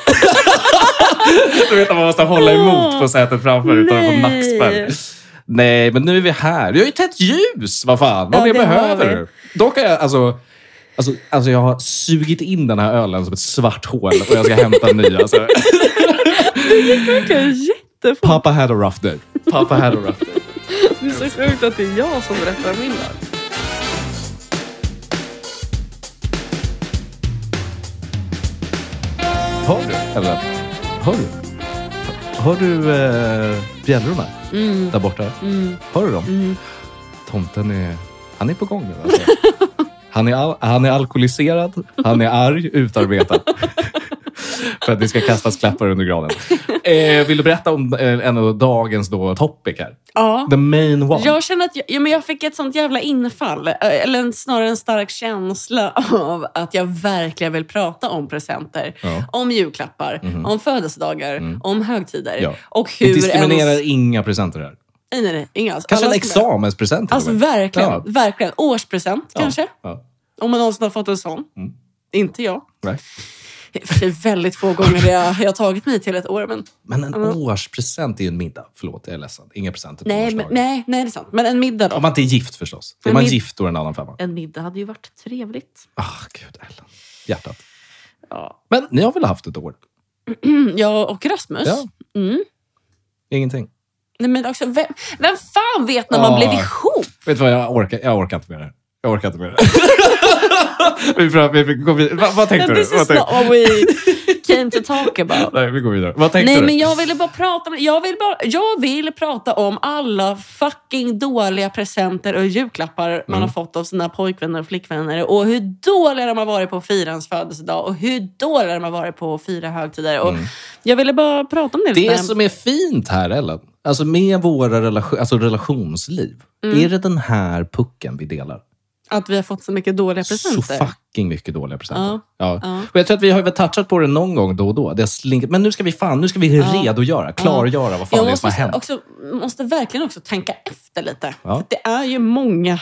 [SPEAKER 2] du vet att man måste hålla emot på sätet framför utan att få
[SPEAKER 1] Nej.
[SPEAKER 2] nackspärr. Nej, men nu är vi här. Vi har ju tänt ljus! Vad fan, vad
[SPEAKER 1] Ja,
[SPEAKER 2] mer
[SPEAKER 1] det har
[SPEAKER 2] behöver
[SPEAKER 1] vi.
[SPEAKER 2] du? Dock har jag alltså... Alltså, alltså jag har sugit in den här ölen som ett svart hål och jag ska hämta en ny. Alltså.
[SPEAKER 1] Verkligen jättefort.
[SPEAKER 2] Papa had a rough day. Papa had a rough day.
[SPEAKER 1] Det är så sjukt att det är jag som berättar min dag.
[SPEAKER 2] Hör du? Eller? Hör du? Hör du eh, bjällrorna där borta? Hör du dem?
[SPEAKER 1] Mm.
[SPEAKER 2] Tomten är... Han är på gång nu. Alltså. Han, är al- han är alkoholiserad, han är arg, utarbetad. För att det ska kastas klappar under granen. Eh, vill du berätta om eh, en av dagens då, topic här?
[SPEAKER 1] Ja.
[SPEAKER 2] The main one.
[SPEAKER 1] Jag känner att jag, ja, men jag fick ett sånt jävla infall, eh, eller en, snarare en stark känsla av att jag verkligen vill prata om presenter.
[SPEAKER 2] Ja. Mhm. Mm.
[SPEAKER 1] Om julklappar, om födelsedagar, om högtider.
[SPEAKER 2] Ja.
[SPEAKER 1] Och
[SPEAKER 2] Vi
[SPEAKER 1] hur
[SPEAKER 2] diskriminerar
[SPEAKER 1] ens...
[SPEAKER 2] inga presenter här.
[SPEAKER 1] Nej, nej, nej. Inga alls.
[SPEAKER 2] Kanske
[SPEAKER 1] Alla
[SPEAKER 2] en
[SPEAKER 1] ska med.
[SPEAKER 2] examenspresent. till
[SPEAKER 1] Alltså
[SPEAKER 2] och med.
[SPEAKER 1] verkligen,
[SPEAKER 2] Ja.
[SPEAKER 1] verkligen. Årspresent kanske.
[SPEAKER 2] Ja. Mm.
[SPEAKER 1] Om man någonsin har fått en sån. Inte jag.
[SPEAKER 2] Nej.
[SPEAKER 1] Det är väldigt få gånger jag, jag har tagit mig till ett år. Men...
[SPEAKER 2] Men en årspresent är ju en middag. Förlåt, jag är ledsen. Inga presenter på
[SPEAKER 1] Nej, men,
[SPEAKER 2] årsdagen.
[SPEAKER 1] nej, nej, det är sant. Men en middag då.
[SPEAKER 2] Om man inte är gift förstås. Är
[SPEAKER 1] Men
[SPEAKER 2] man
[SPEAKER 1] min-
[SPEAKER 2] gift då är det en annan femma.
[SPEAKER 1] En middag hade ju varit trevligt.
[SPEAKER 2] Ah, gud Ellen. Hjärtat.
[SPEAKER 1] Ja,
[SPEAKER 2] Men ni har väl haft ett år?
[SPEAKER 1] jag och Rasmus.
[SPEAKER 2] Ja.
[SPEAKER 1] Mm.
[SPEAKER 2] Ingenting.
[SPEAKER 1] Nej, men också, vem, vem fan vet när man
[SPEAKER 2] Ja.
[SPEAKER 1] blev ihop?
[SPEAKER 2] Vet du vad, jag orkar, jag orkar inte med det här. Jag orkar inte med det här. vi prövar, vi, vi går vidare. Vad, vad tänkte du?
[SPEAKER 1] This
[SPEAKER 2] Vad
[SPEAKER 1] is not
[SPEAKER 2] tänkte?
[SPEAKER 1] what we came to talk about.
[SPEAKER 2] Nej, vi går vidare. Vad tänkte
[SPEAKER 1] Nej,
[SPEAKER 2] du?
[SPEAKER 1] men jag ville bara prata om, jag vill, bara, jag vill prata om alla fucking dåliga presenter och julklappar
[SPEAKER 2] Mm.
[SPEAKER 1] man har fått av sina pojkvänner och flickvänner. Och hur dåliga de har varit på att fira ens födelsedag och hur dåliga de har varit på att fira högtider. Och Jag ville bara prata om det.
[SPEAKER 2] Mm. Det
[SPEAKER 1] lite.
[SPEAKER 2] som är fint här, Ellen, alltså med våra relation, alltså relationsliv,
[SPEAKER 1] Mm.
[SPEAKER 2] är det den här pucken vi delar?
[SPEAKER 1] Att vi har fått så mycket dåliga
[SPEAKER 2] Så
[SPEAKER 1] presenter.
[SPEAKER 2] fucking mycket dåliga presenter.
[SPEAKER 1] Ja.
[SPEAKER 2] Ja.
[SPEAKER 1] Ja.
[SPEAKER 2] Och jag tror att vi har väl touchat på det någon gång då och då. Det har slinkit. Men nu ska vi fan, nu ska vi redogöra, klargöra vad fan
[SPEAKER 1] Jag
[SPEAKER 2] det är som har
[SPEAKER 1] måste,
[SPEAKER 2] hänt.
[SPEAKER 1] också, måste verkligen också tänka efter lite.
[SPEAKER 2] Ja.
[SPEAKER 1] För det är ju många.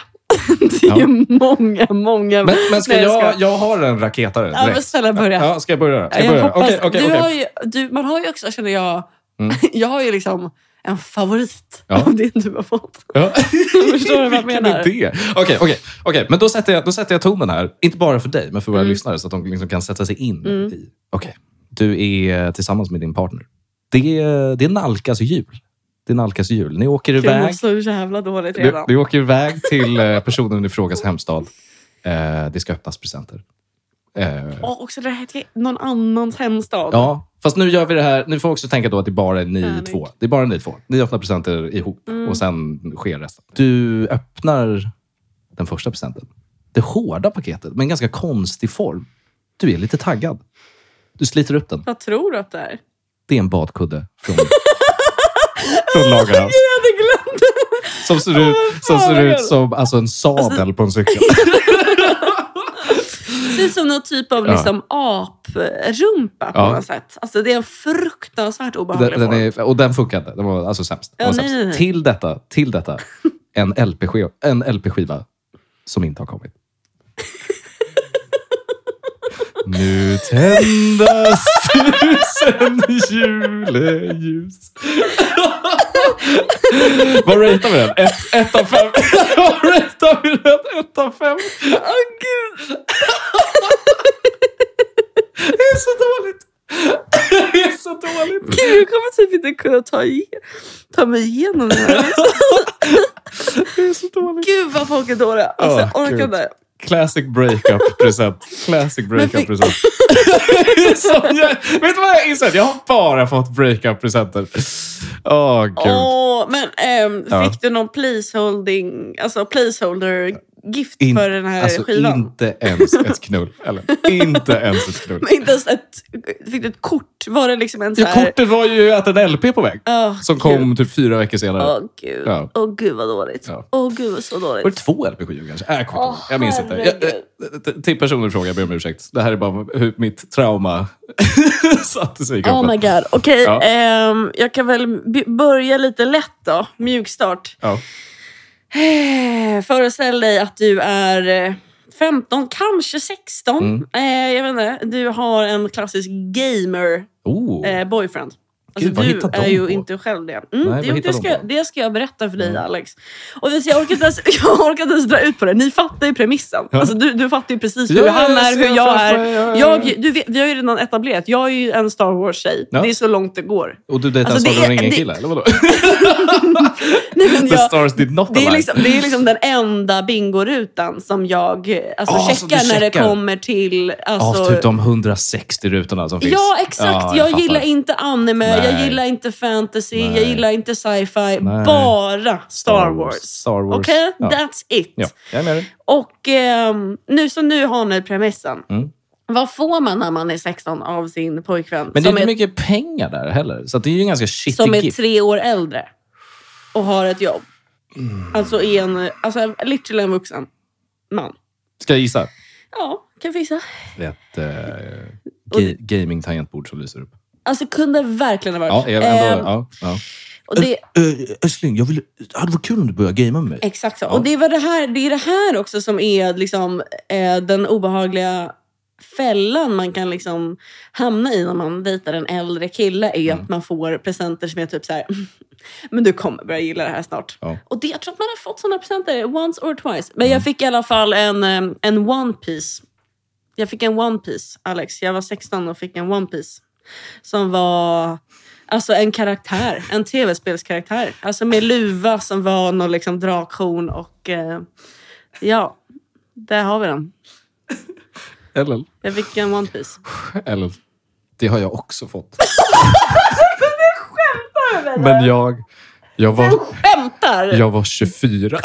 [SPEAKER 1] Det är ju många, många.
[SPEAKER 2] Men, men ska
[SPEAKER 1] Nej,
[SPEAKER 2] jag,
[SPEAKER 1] ska-
[SPEAKER 2] jag... har en raketare direkt.
[SPEAKER 1] Ja, men snälla börja.
[SPEAKER 2] Ja, ska jag börja? Ska
[SPEAKER 1] Jag
[SPEAKER 2] jag börja?
[SPEAKER 1] hoppas-
[SPEAKER 2] Okej, okej,
[SPEAKER 1] du
[SPEAKER 2] okej. Mm.
[SPEAKER 1] har ju, du, man har ju också, känner jag, jag har ju liksom en favorit
[SPEAKER 2] Ja.
[SPEAKER 1] av det du har fått.
[SPEAKER 2] Ja.
[SPEAKER 1] Förstår du vad jag
[SPEAKER 2] Vilken
[SPEAKER 1] menar?
[SPEAKER 2] idé! Okej, okej. okej. Men då sätter, jag, då sätter jag tonen här. Inte bara för dig, men för våra
[SPEAKER 1] Mm.
[SPEAKER 2] lyssnare så att de liksom kan sätta sig in i. Okej, du är tillsammans med din partner. Det, det nalkas jul. Det nalkas jul. Ni åker
[SPEAKER 1] Jag mår
[SPEAKER 2] iväg.
[SPEAKER 1] så jävla dåligt
[SPEAKER 2] Du,
[SPEAKER 1] redan.
[SPEAKER 2] du åker iväg till eh, personen i frågas hemstad. Eh, det ska öppnas presenter. Eh,
[SPEAKER 1] Och också det här till någon annans hemstad.
[SPEAKER 2] Ja, fast nu gör vi det här. Nu får vi också tänka då att det bara är ni
[SPEAKER 1] Härligt.
[SPEAKER 2] två. Det är bara ni två. Ni öppnar presenter ihop
[SPEAKER 1] Mm.
[SPEAKER 2] och sen sker resten. Du öppnar den första presenten. Det hårda paketet med en ganska konstig form. Du är lite taggad. Du sliter upp den.
[SPEAKER 1] Vad tror du att det är?
[SPEAKER 2] Det är en badkudde från, från Lagerhans.
[SPEAKER 1] Jag hade glömt!
[SPEAKER 2] Som ser ut, som,
[SPEAKER 1] fan, vad
[SPEAKER 2] ser ut
[SPEAKER 1] kul.
[SPEAKER 2] som alltså en sadel på en cykel.
[SPEAKER 1] Det ser ut som någon typ av
[SPEAKER 2] Ja.
[SPEAKER 1] liksom, aprumpa på
[SPEAKER 2] Ja.
[SPEAKER 1] något sätt. Alltså, det är en fruktansvärt obehaglig
[SPEAKER 2] Den, den
[SPEAKER 1] form.
[SPEAKER 2] är, och den funkade. Den var alltså sämst. Den
[SPEAKER 1] Ja,
[SPEAKER 2] var
[SPEAKER 1] nej,
[SPEAKER 2] sämst.
[SPEAKER 1] nej, nej.
[SPEAKER 2] Till detta, till detta en, LP-skiva, en LP-skiva som inte har kommit. nu tändas tusen juleljus. Vad ratear vi den? Ett, ett av fem. Vad ratear vi den? Ett av fem.
[SPEAKER 1] Åh gud!
[SPEAKER 2] Det är så dåligt. Det är så dåligt.
[SPEAKER 1] gud! Jag kommer typ inte kunna ta, ige- ta mig igenom det här.
[SPEAKER 2] Det är så dåligt.
[SPEAKER 1] gud vad folk är dåliga. Alltså,
[SPEAKER 2] Ja,
[SPEAKER 1] jag orkar
[SPEAKER 2] gud.
[SPEAKER 1] inte.
[SPEAKER 2] Classic breakup-present. Classic breakup-present. Som jag- Vet du vad jag har insett? Jag har bara fått breakup-presenter. Åh, gud.
[SPEAKER 1] Åh, men ehm, fick
[SPEAKER 2] Ja.
[SPEAKER 1] du någon placeholding, alltså placeholder gift
[SPEAKER 2] In-
[SPEAKER 1] för den här
[SPEAKER 2] alltså,
[SPEAKER 1] skivan?
[SPEAKER 2] inte ens ett knull. Eller, inte ens ett knull.
[SPEAKER 1] Men inte ens ett, fick du ett kort? Var det liksom en så
[SPEAKER 2] Ja,
[SPEAKER 1] här...
[SPEAKER 2] kortet var ju att en LP är på väg.
[SPEAKER 1] Åh,
[SPEAKER 2] Som
[SPEAKER 1] gud.
[SPEAKER 2] kom typ fyra veckor senare.
[SPEAKER 1] Åh gud. Åh
[SPEAKER 2] Ja.
[SPEAKER 1] gud vad dåligt. Åh
[SPEAKER 2] Ja.
[SPEAKER 1] gud så
[SPEAKER 2] Var
[SPEAKER 1] dåligt.
[SPEAKER 2] det två LP-skivor kanske? Äh, jag kommer inte ihåg.
[SPEAKER 1] Åh,
[SPEAKER 2] jag minns inte. Jag, eh, till personen i fråga, jag ber om ursäkt. Det här är bara hur mitt trauma satte sig i kroppen.
[SPEAKER 1] Oh my god. Okej,
[SPEAKER 2] Ja.
[SPEAKER 1] ehm, jag kan väl b- börja lite lätt då. Mjukstart.
[SPEAKER 2] ja.
[SPEAKER 1] Eh, Föreställ dig att du är eh, 15, kanske 16.
[SPEAKER 2] Mm.
[SPEAKER 1] Eh, jag vet inte. Du har en klassisk gamer
[SPEAKER 2] oh.
[SPEAKER 1] eh, boyfriend. Alltså,
[SPEAKER 2] Gud, vad
[SPEAKER 1] du
[SPEAKER 2] hittar de
[SPEAKER 1] är ju
[SPEAKER 2] på?
[SPEAKER 1] inte själv det. Mm,
[SPEAKER 2] vad
[SPEAKER 1] det,
[SPEAKER 2] hittar
[SPEAKER 1] det,
[SPEAKER 2] de
[SPEAKER 1] ska,
[SPEAKER 2] på? Mm.
[SPEAKER 1] det ska jag berätta för dig Alex. Och det, jag, orkar inte ens, jag orkar inte ens dra ut på det. Ni fattar ju premissen.
[SPEAKER 2] Ja.
[SPEAKER 1] Alltså, du, du fattar ju precis
[SPEAKER 2] Ja,
[SPEAKER 1] hur
[SPEAKER 2] ja,
[SPEAKER 1] han
[SPEAKER 2] jag
[SPEAKER 1] är,
[SPEAKER 2] ser
[SPEAKER 1] hur jag
[SPEAKER 2] framför mig, ja,
[SPEAKER 1] är.
[SPEAKER 2] ja, ja.
[SPEAKER 1] Jag, du vet, vi har ju redan etablerat, jag är ju en Star Wars-tjej.
[SPEAKER 2] Ja.
[SPEAKER 1] Det är så långt det går.
[SPEAKER 2] Och du dejtar
[SPEAKER 1] Alltså,
[SPEAKER 2] en
[SPEAKER 1] det
[SPEAKER 2] Sagan
[SPEAKER 1] är-
[SPEAKER 2] om
[SPEAKER 1] det-
[SPEAKER 2] ringen-kille, eller vadå?
[SPEAKER 1] Nej, men
[SPEAKER 2] The
[SPEAKER 1] jag,
[SPEAKER 2] stars did not
[SPEAKER 1] det, är
[SPEAKER 2] align.
[SPEAKER 1] liksom, det är liksom den enda bingorutan som jag eh, alltså,
[SPEAKER 2] Ah, som du
[SPEAKER 1] checkar när det
[SPEAKER 2] checkar.
[SPEAKER 1] kommer till... Alltså,
[SPEAKER 2] Av typ de 160 rutorna som finns.
[SPEAKER 1] Ja, exakt.
[SPEAKER 2] Ja,
[SPEAKER 1] jag
[SPEAKER 2] fattar.
[SPEAKER 1] gillar inte anime, jag
[SPEAKER 2] Nej.
[SPEAKER 1] gillar inte fantasy,
[SPEAKER 2] Nej.
[SPEAKER 1] jag gillar inte sci-fi.
[SPEAKER 2] Nej.
[SPEAKER 1] Bara Star
[SPEAKER 2] Star
[SPEAKER 1] Wars.
[SPEAKER 2] Wars. Star Wars.
[SPEAKER 1] Okej?
[SPEAKER 2] Ja.
[SPEAKER 1] That's it.
[SPEAKER 2] Ja, jag är med dig.
[SPEAKER 1] Och ehm, nu, så nu har ni premissen.
[SPEAKER 2] Mm.
[SPEAKER 1] Vad får man när man är 16 av sin pojkvän
[SPEAKER 2] Men det är
[SPEAKER 1] som,
[SPEAKER 2] inte
[SPEAKER 1] är,
[SPEAKER 2] mycket pengar där heller. Så att det är ju en ganska shitty
[SPEAKER 1] som är
[SPEAKER 2] gift.
[SPEAKER 1] tre år äldre och har ett jobb?
[SPEAKER 2] Mm.
[SPEAKER 1] Alltså, är en, alltså literally en vuxen man.
[SPEAKER 2] Ska jag gissa?
[SPEAKER 1] Ja, kan visa.
[SPEAKER 2] Det är ett eh,
[SPEAKER 1] Och-
[SPEAKER 2] ga- gaming-tangentbord som lyser upp.
[SPEAKER 1] Alltså kunde verkligen ha varit.
[SPEAKER 2] Ja, jag- ändå,
[SPEAKER 1] Ehm,
[SPEAKER 2] ja, ja.
[SPEAKER 1] och det,
[SPEAKER 2] Eh, älskling, jag vill, det var kul om du började gamea med mig.
[SPEAKER 1] Exakt så.
[SPEAKER 2] Ja.
[SPEAKER 1] Och det är, väl det, här, det är det här också som är liksom, eh, den obehagliga fällan man kan liksom hamna i när man dejtar en äldre kille. är ju
[SPEAKER 2] Mm.
[SPEAKER 1] att man får presenter som är typ så här... Men du kommer börja gilla det här snart.
[SPEAKER 2] Ja. Mm.
[SPEAKER 1] Och det, jag tror att man har fått såna presenter once or twice. Men jag fick i alla fall en, eh, en one piece. Jag fick en one piece, Alex. Jag var 16 och fick en one piece. Som var alltså en karaktär. En tv-spelskaraktär. Alltså med luva som var någon liksom drakhorn och... Eh, ja, där har vi den.
[SPEAKER 2] Ellen.
[SPEAKER 1] Jag fick en one piece.
[SPEAKER 2] Ellen. Det har jag också fått. Men jag, jag, var,
[SPEAKER 1] Skämtar!
[SPEAKER 2] jag var 24.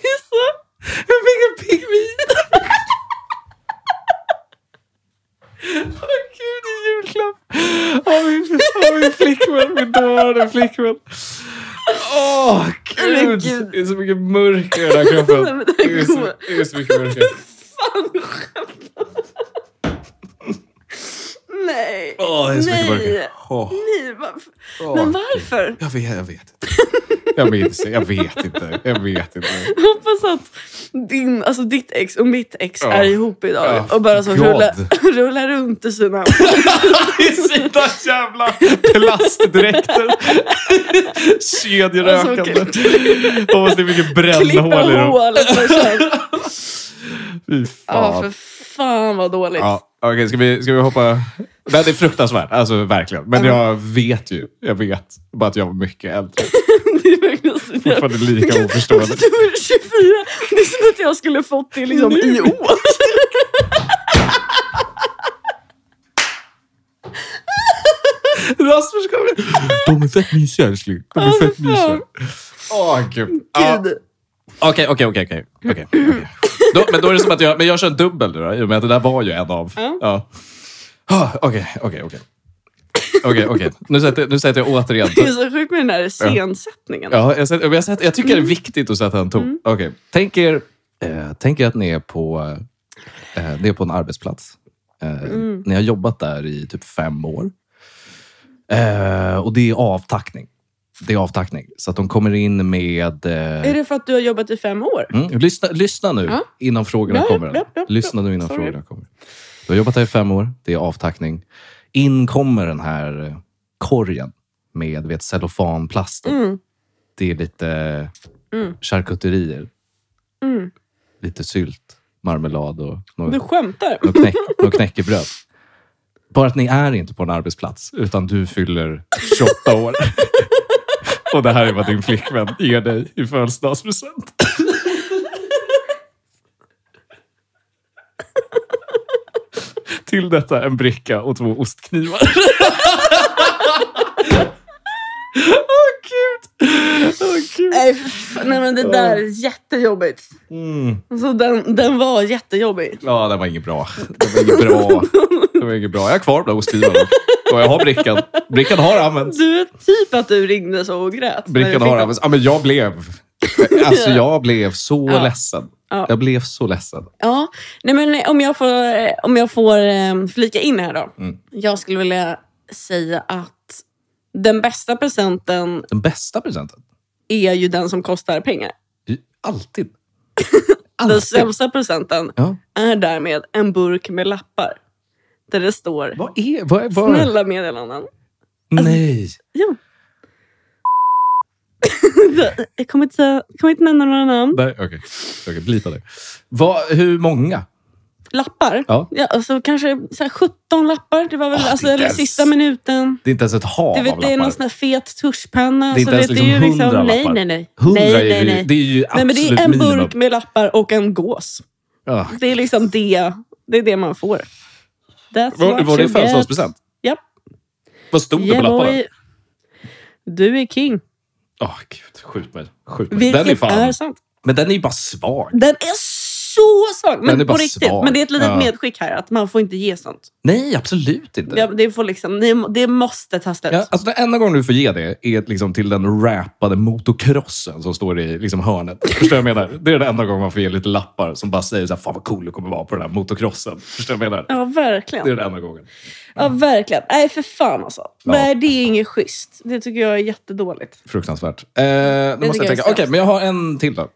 [SPEAKER 1] Det är så- Jag fick en pingvin.
[SPEAKER 2] Åh gud, i julklapp av min, av min flickvän, min dåvarande flickvän. Åh
[SPEAKER 1] Men
[SPEAKER 2] gud,
[SPEAKER 1] gud.
[SPEAKER 2] det är så mycket mörker i den här kroppen.
[SPEAKER 1] Nej, men det är
[SPEAKER 2] Det är så,
[SPEAKER 1] god.
[SPEAKER 2] det är så mycket mörker.
[SPEAKER 1] Fan, skämtar du? Nej.
[SPEAKER 2] Åh, det är så mycket
[SPEAKER 1] Nej.
[SPEAKER 2] mörker. Åh,
[SPEAKER 1] Nej, varför?
[SPEAKER 2] åh.
[SPEAKER 1] Men varför?
[SPEAKER 2] Jag vet, jag vet. Jag minns, jag vet inte. Jag vet inte.
[SPEAKER 1] Jag hoppas att din, alltså ditt ex och mitt ex
[SPEAKER 2] Ja.
[SPEAKER 1] är ihop idag
[SPEAKER 2] Ja,
[SPEAKER 1] och bara så
[SPEAKER 2] God.
[SPEAKER 1] rullar, rullar runt i sina...
[SPEAKER 2] I sina jävla plastdräkter. Kedjerökande.
[SPEAKER 1] Alltså,
[SPEAKER 2] Hoppas det är mycket
[SPEAKER 1] Klippa
[SPEAKER 2] brännhål i dem.
[SPEAKER 1] hål. Alltså, så här.
[SPEAKER 2] Fy
[SPEAKER 1] ja,
[SPEAKER 2] fan.
[SPEAKER 1] för fan vad dåligt.
[SPEAKER 2] Ja, okej, ska, vi, ska vi hoppa? Nej, det är fruktansvärt, alltså verkligen. Men
[SPEAKER 1] Mm.
[SPEAKER 2] jag vet ju, jag vet bara att jag var mycket äldre.
[SPEAKER 1] Det är verkligen så jävla-
[SPEAKER 2] Fortfarande lika oförstående.
[SPEAKER 1] Du är 24. Det är som att jag skulle fått det liksom i år.
[SPEAKER 2] Rasmus kommer. De är fett mysiga älskling. De är
[SPEAKER 1] Ja,
[SPEAKER 2] fett
[SPEAKER 1] för Alltså, fan.
[SPEAKER 2] mysiga. Åh gud. Ja,
[SPEAKER 1] Gud.
[SPEAKER 2] Okej, okej, okej. okej, okej, okej. Då- Men då är det som att jag, men jag kör en dubbel nu då, i och med att det där var ju en av.
[SPEAKER 1] Ja.
[SPEAKER 2] Ja. Ah, Okej, okej, okej. Okej, okej. Nu sätter nu sätter jag återigen
[SPEAKER 1] Det är så sjukt med den här scensättningen.
[SPEAKER 2] Ja, jag, sett, men jag, sett, jag tycker det är viktigt att sätta en ton. Okej, Tänk, er, eh, tänk er att ni är på, eh, ni är på en arbetsplats. Eh, Ni har jobbat där i typ fem år. Eh, och det är avtackning. Det är avtackning. Så att de kommer in med... Eh,
[SPEAKER 1] Är det för att du har jobbat i fem år?
[SPEAKER 2] mm, lyssna, lyssna nu
[SPEAKER 1] Ja.
[SPEAKER 2] innan frågorna
[SPEAKER 1] Ja, ja,
[SPEAKER 2] kommer.
[SPEAKER 1] ja, ja,
[SPEAKER 2] lyssna
[SPEAKER 1] ja.
[SPEAKER 2] nu innan
[SPEAKER 1] Sorry.
[SPEAKER 2] frågorna kommer. Du har jobbat där i fem år. Det är avtackning. In kommer den här eh, korgen med vet, cellofanplasten
[SPEAKER 1] Mm.
[SPEAKER 2] det är lite
[SPEAKER 1] Mm.
[SPEAKER 2] charkuterier.
[SPEAKER 1] Mm.
[SPEAKER 2] Lite sylt, marmelad och några,
[SPEAKER 1] Du skämtar?
[SPEAKER 2] några, knäck, några knäckebröd. Bara att ni är inte på en arbetsplats, utan du fyller 28 år. och det här är vad din flickvän ger dig i födelsedagspresent. Till detta en bricka och två ostknivar. Åh, gud! Åh, gud!
[SPEAKER 1] Nej, för fan. Nej, men det där är jättejobbigt.
[SPEAKER 2] Mm.
[SPEAKER 1] Alltså, den, den var jättejobbig.
[SPEAKER 2] Ja, det var inget bra. Det var inget bra. Det var inget bra. Jag har kvar de ostskivorna dock. Och jag har brickan. Brickan har använts.
[SPEAKER 1] Du är typ att du ringde så och grät. när du
[SPEAKER 2] Brickan
[SPEAKER 1] fick
[SPEAKER 2] har
[SPEAKER 1] dem.
[SPEAKER 2] använts. Ja, men jag blev... Alltså jag blev så
[SPEAKER 1] Ja.
[SPEAKER 2] ledsen.
[SPEAKER 1] Ja.
[SPEAKER 2] Jag blev så ledsen.
[SPEAKER 1] Ja, nej men om jag får, eh, om jag får eh, flika in här då.
[SPEAKER 2] Mm.
[SPEAKER 1] Jag skulle vilja säga att den bästa presenten
[SPEAKER 2] Den bästa presenten.
[SPEAKER 1] är ju den som kostar pengar.
[SPEAKER 2] Alltid.
[SPEAKER 1] Den
[SPEAKER 2] Alltid.
[SPEAKER 1] sämsta presenten
[SPEAKER 2] Ja.
[SPEAKER 1] är därmed en burk med lappar. Där det står
[SPEAKER 2] Vad är... Vad är vad?
[SPEAKER 1] “Snälla Alltså- meddelanden”.
[SPEAKER 2] Nej.
[SPEAKER 1] Ja. jag, kommer inte, säga- jag kommer inte nämna några namn.
[SPEAKER 2] Nej, okej. Okej, blipa det. Vad, hur många?
[SPEAKER 1] Lappar.
[SPEAKER 2] Ja.
[SPEAKER 1] Ja, alltså kanske så här 17 lappar. Det var väl
[SPEAKER 2] Ah, det är
[SPEAKER 1] alltså,
[SPEAKER 2] inte
[SPEAKER 1] eller
[SPEAKER 2] ens-
[SPEAKER 1] sista minuten.
[SPEAKER 2] Det är inte ens ett hav
[SPEAKER 1] Du
[SPEAKER 2] av
[SPEAKER 1] vet, det är
[SPEAKER 2] lappar.
[SPEAKER 1] någon sån här fet tuschpenna.
[SPEAKER 2] Det är inte
[SPEAKER 1] så
[SPEAKER 2] ens
[SPEAKER 1] vet,
[SPEAKER 2] liksom
[SPEAKER 1] det är ju liksom,
[SPEAKER 2] hundra
[SPEAKER 1] nej,
[SPEAKER 2] lappar.
[SPEAKER 1] nej, nej.
[SPEAKER 2] Hundra
[SPEAKER 1] nej,
[SPEAKER 2] är ju,
[SPEAKER 1] nej, nej.
[SPEAKER 2] Det är ju
[SPEAKER 1] nej
[SPEAKER 2] absolut
[SPEAKER 1] men det är en
[SPEAKER 2] minimum.
[SPEAKER 1] burk med lappar och en gås.
[SPEAKER 2] Ja.
[SPEAKER 1] Det är liksom det, det, är det man får. That's
[SPEAKER 2] Var,
[SPEAKER 1] what
[SPEAKER 2] var
[SPEAKER 1] you
[SPEAKER 2] det
[SPEAKER 1] get.
[SPEAKER 2] födelsedagspresent?
[SPEAKER 1] Japp.
[SPEAKER 2] Vad stod det
[SPEAKER 1] Yeah,
[SPEAKER 2] på lapparna?
[SPEAKER 1] boy. Du är king.
[SPEAKER 2] Åh, gud. Skjut mig. Skjut mig. Den är
[SPEAKER 1] Vilket
[SPEAKER 2] fan...
[SPEAKER 1] är, sant.
[SPEAKER 2] Men den är ju bara svag.
[SPEAKER 1] Den är så svag.
[SPEAKER 2] Den är
[SPEAKER 1] Men på
[SPEAKER 2] bara
[SPEAKER 1] riktigt.
[SPEAKER 2] svag.
[SPEAKER 1] Men det är ett litet
[SPEAKER 2] Ja.
[SPEAKER 1] medskick här. Att man får inte ge sånt.
[SPEAKER 2] Nej, absolut inte.
[SPEAKER 1] Det, det, får liksom, ni- det måste ta slut.
[SPEAKER 2] Ja, alltså den enda gången du får ge det är liksom till den rappade motocrossen som står i liksom hörnet. Förstår du vad jag menar? Det är den enda gången man får ge lite lappar som bara säger så här, fan vad cool du kommer vara på den här motocrossen. Förstår du vad jag menar?
[SPEAKER 1] Ja, verkligen.
[SPEAKER 2] Det är den enda gången.
[SPEAKER 1] Ja, verkligen. Nej, för fan alltså.
[SPEAKER 2] Ja.
[SPEAKER 1] Nej, det är inget schysst. Det tycker jag är jättedåligt.
[SPEAKER 2] Fruktansvärt. Eh, nu måste
[SPEAKER 1] tycker
[SPEAKER 2] jag
[SPEAKER 1] jag är
[SPEAKER 2] tänka. Okej,
[SPEAKER 1] sämst.
[SPEAKER 2] men jag har en till då.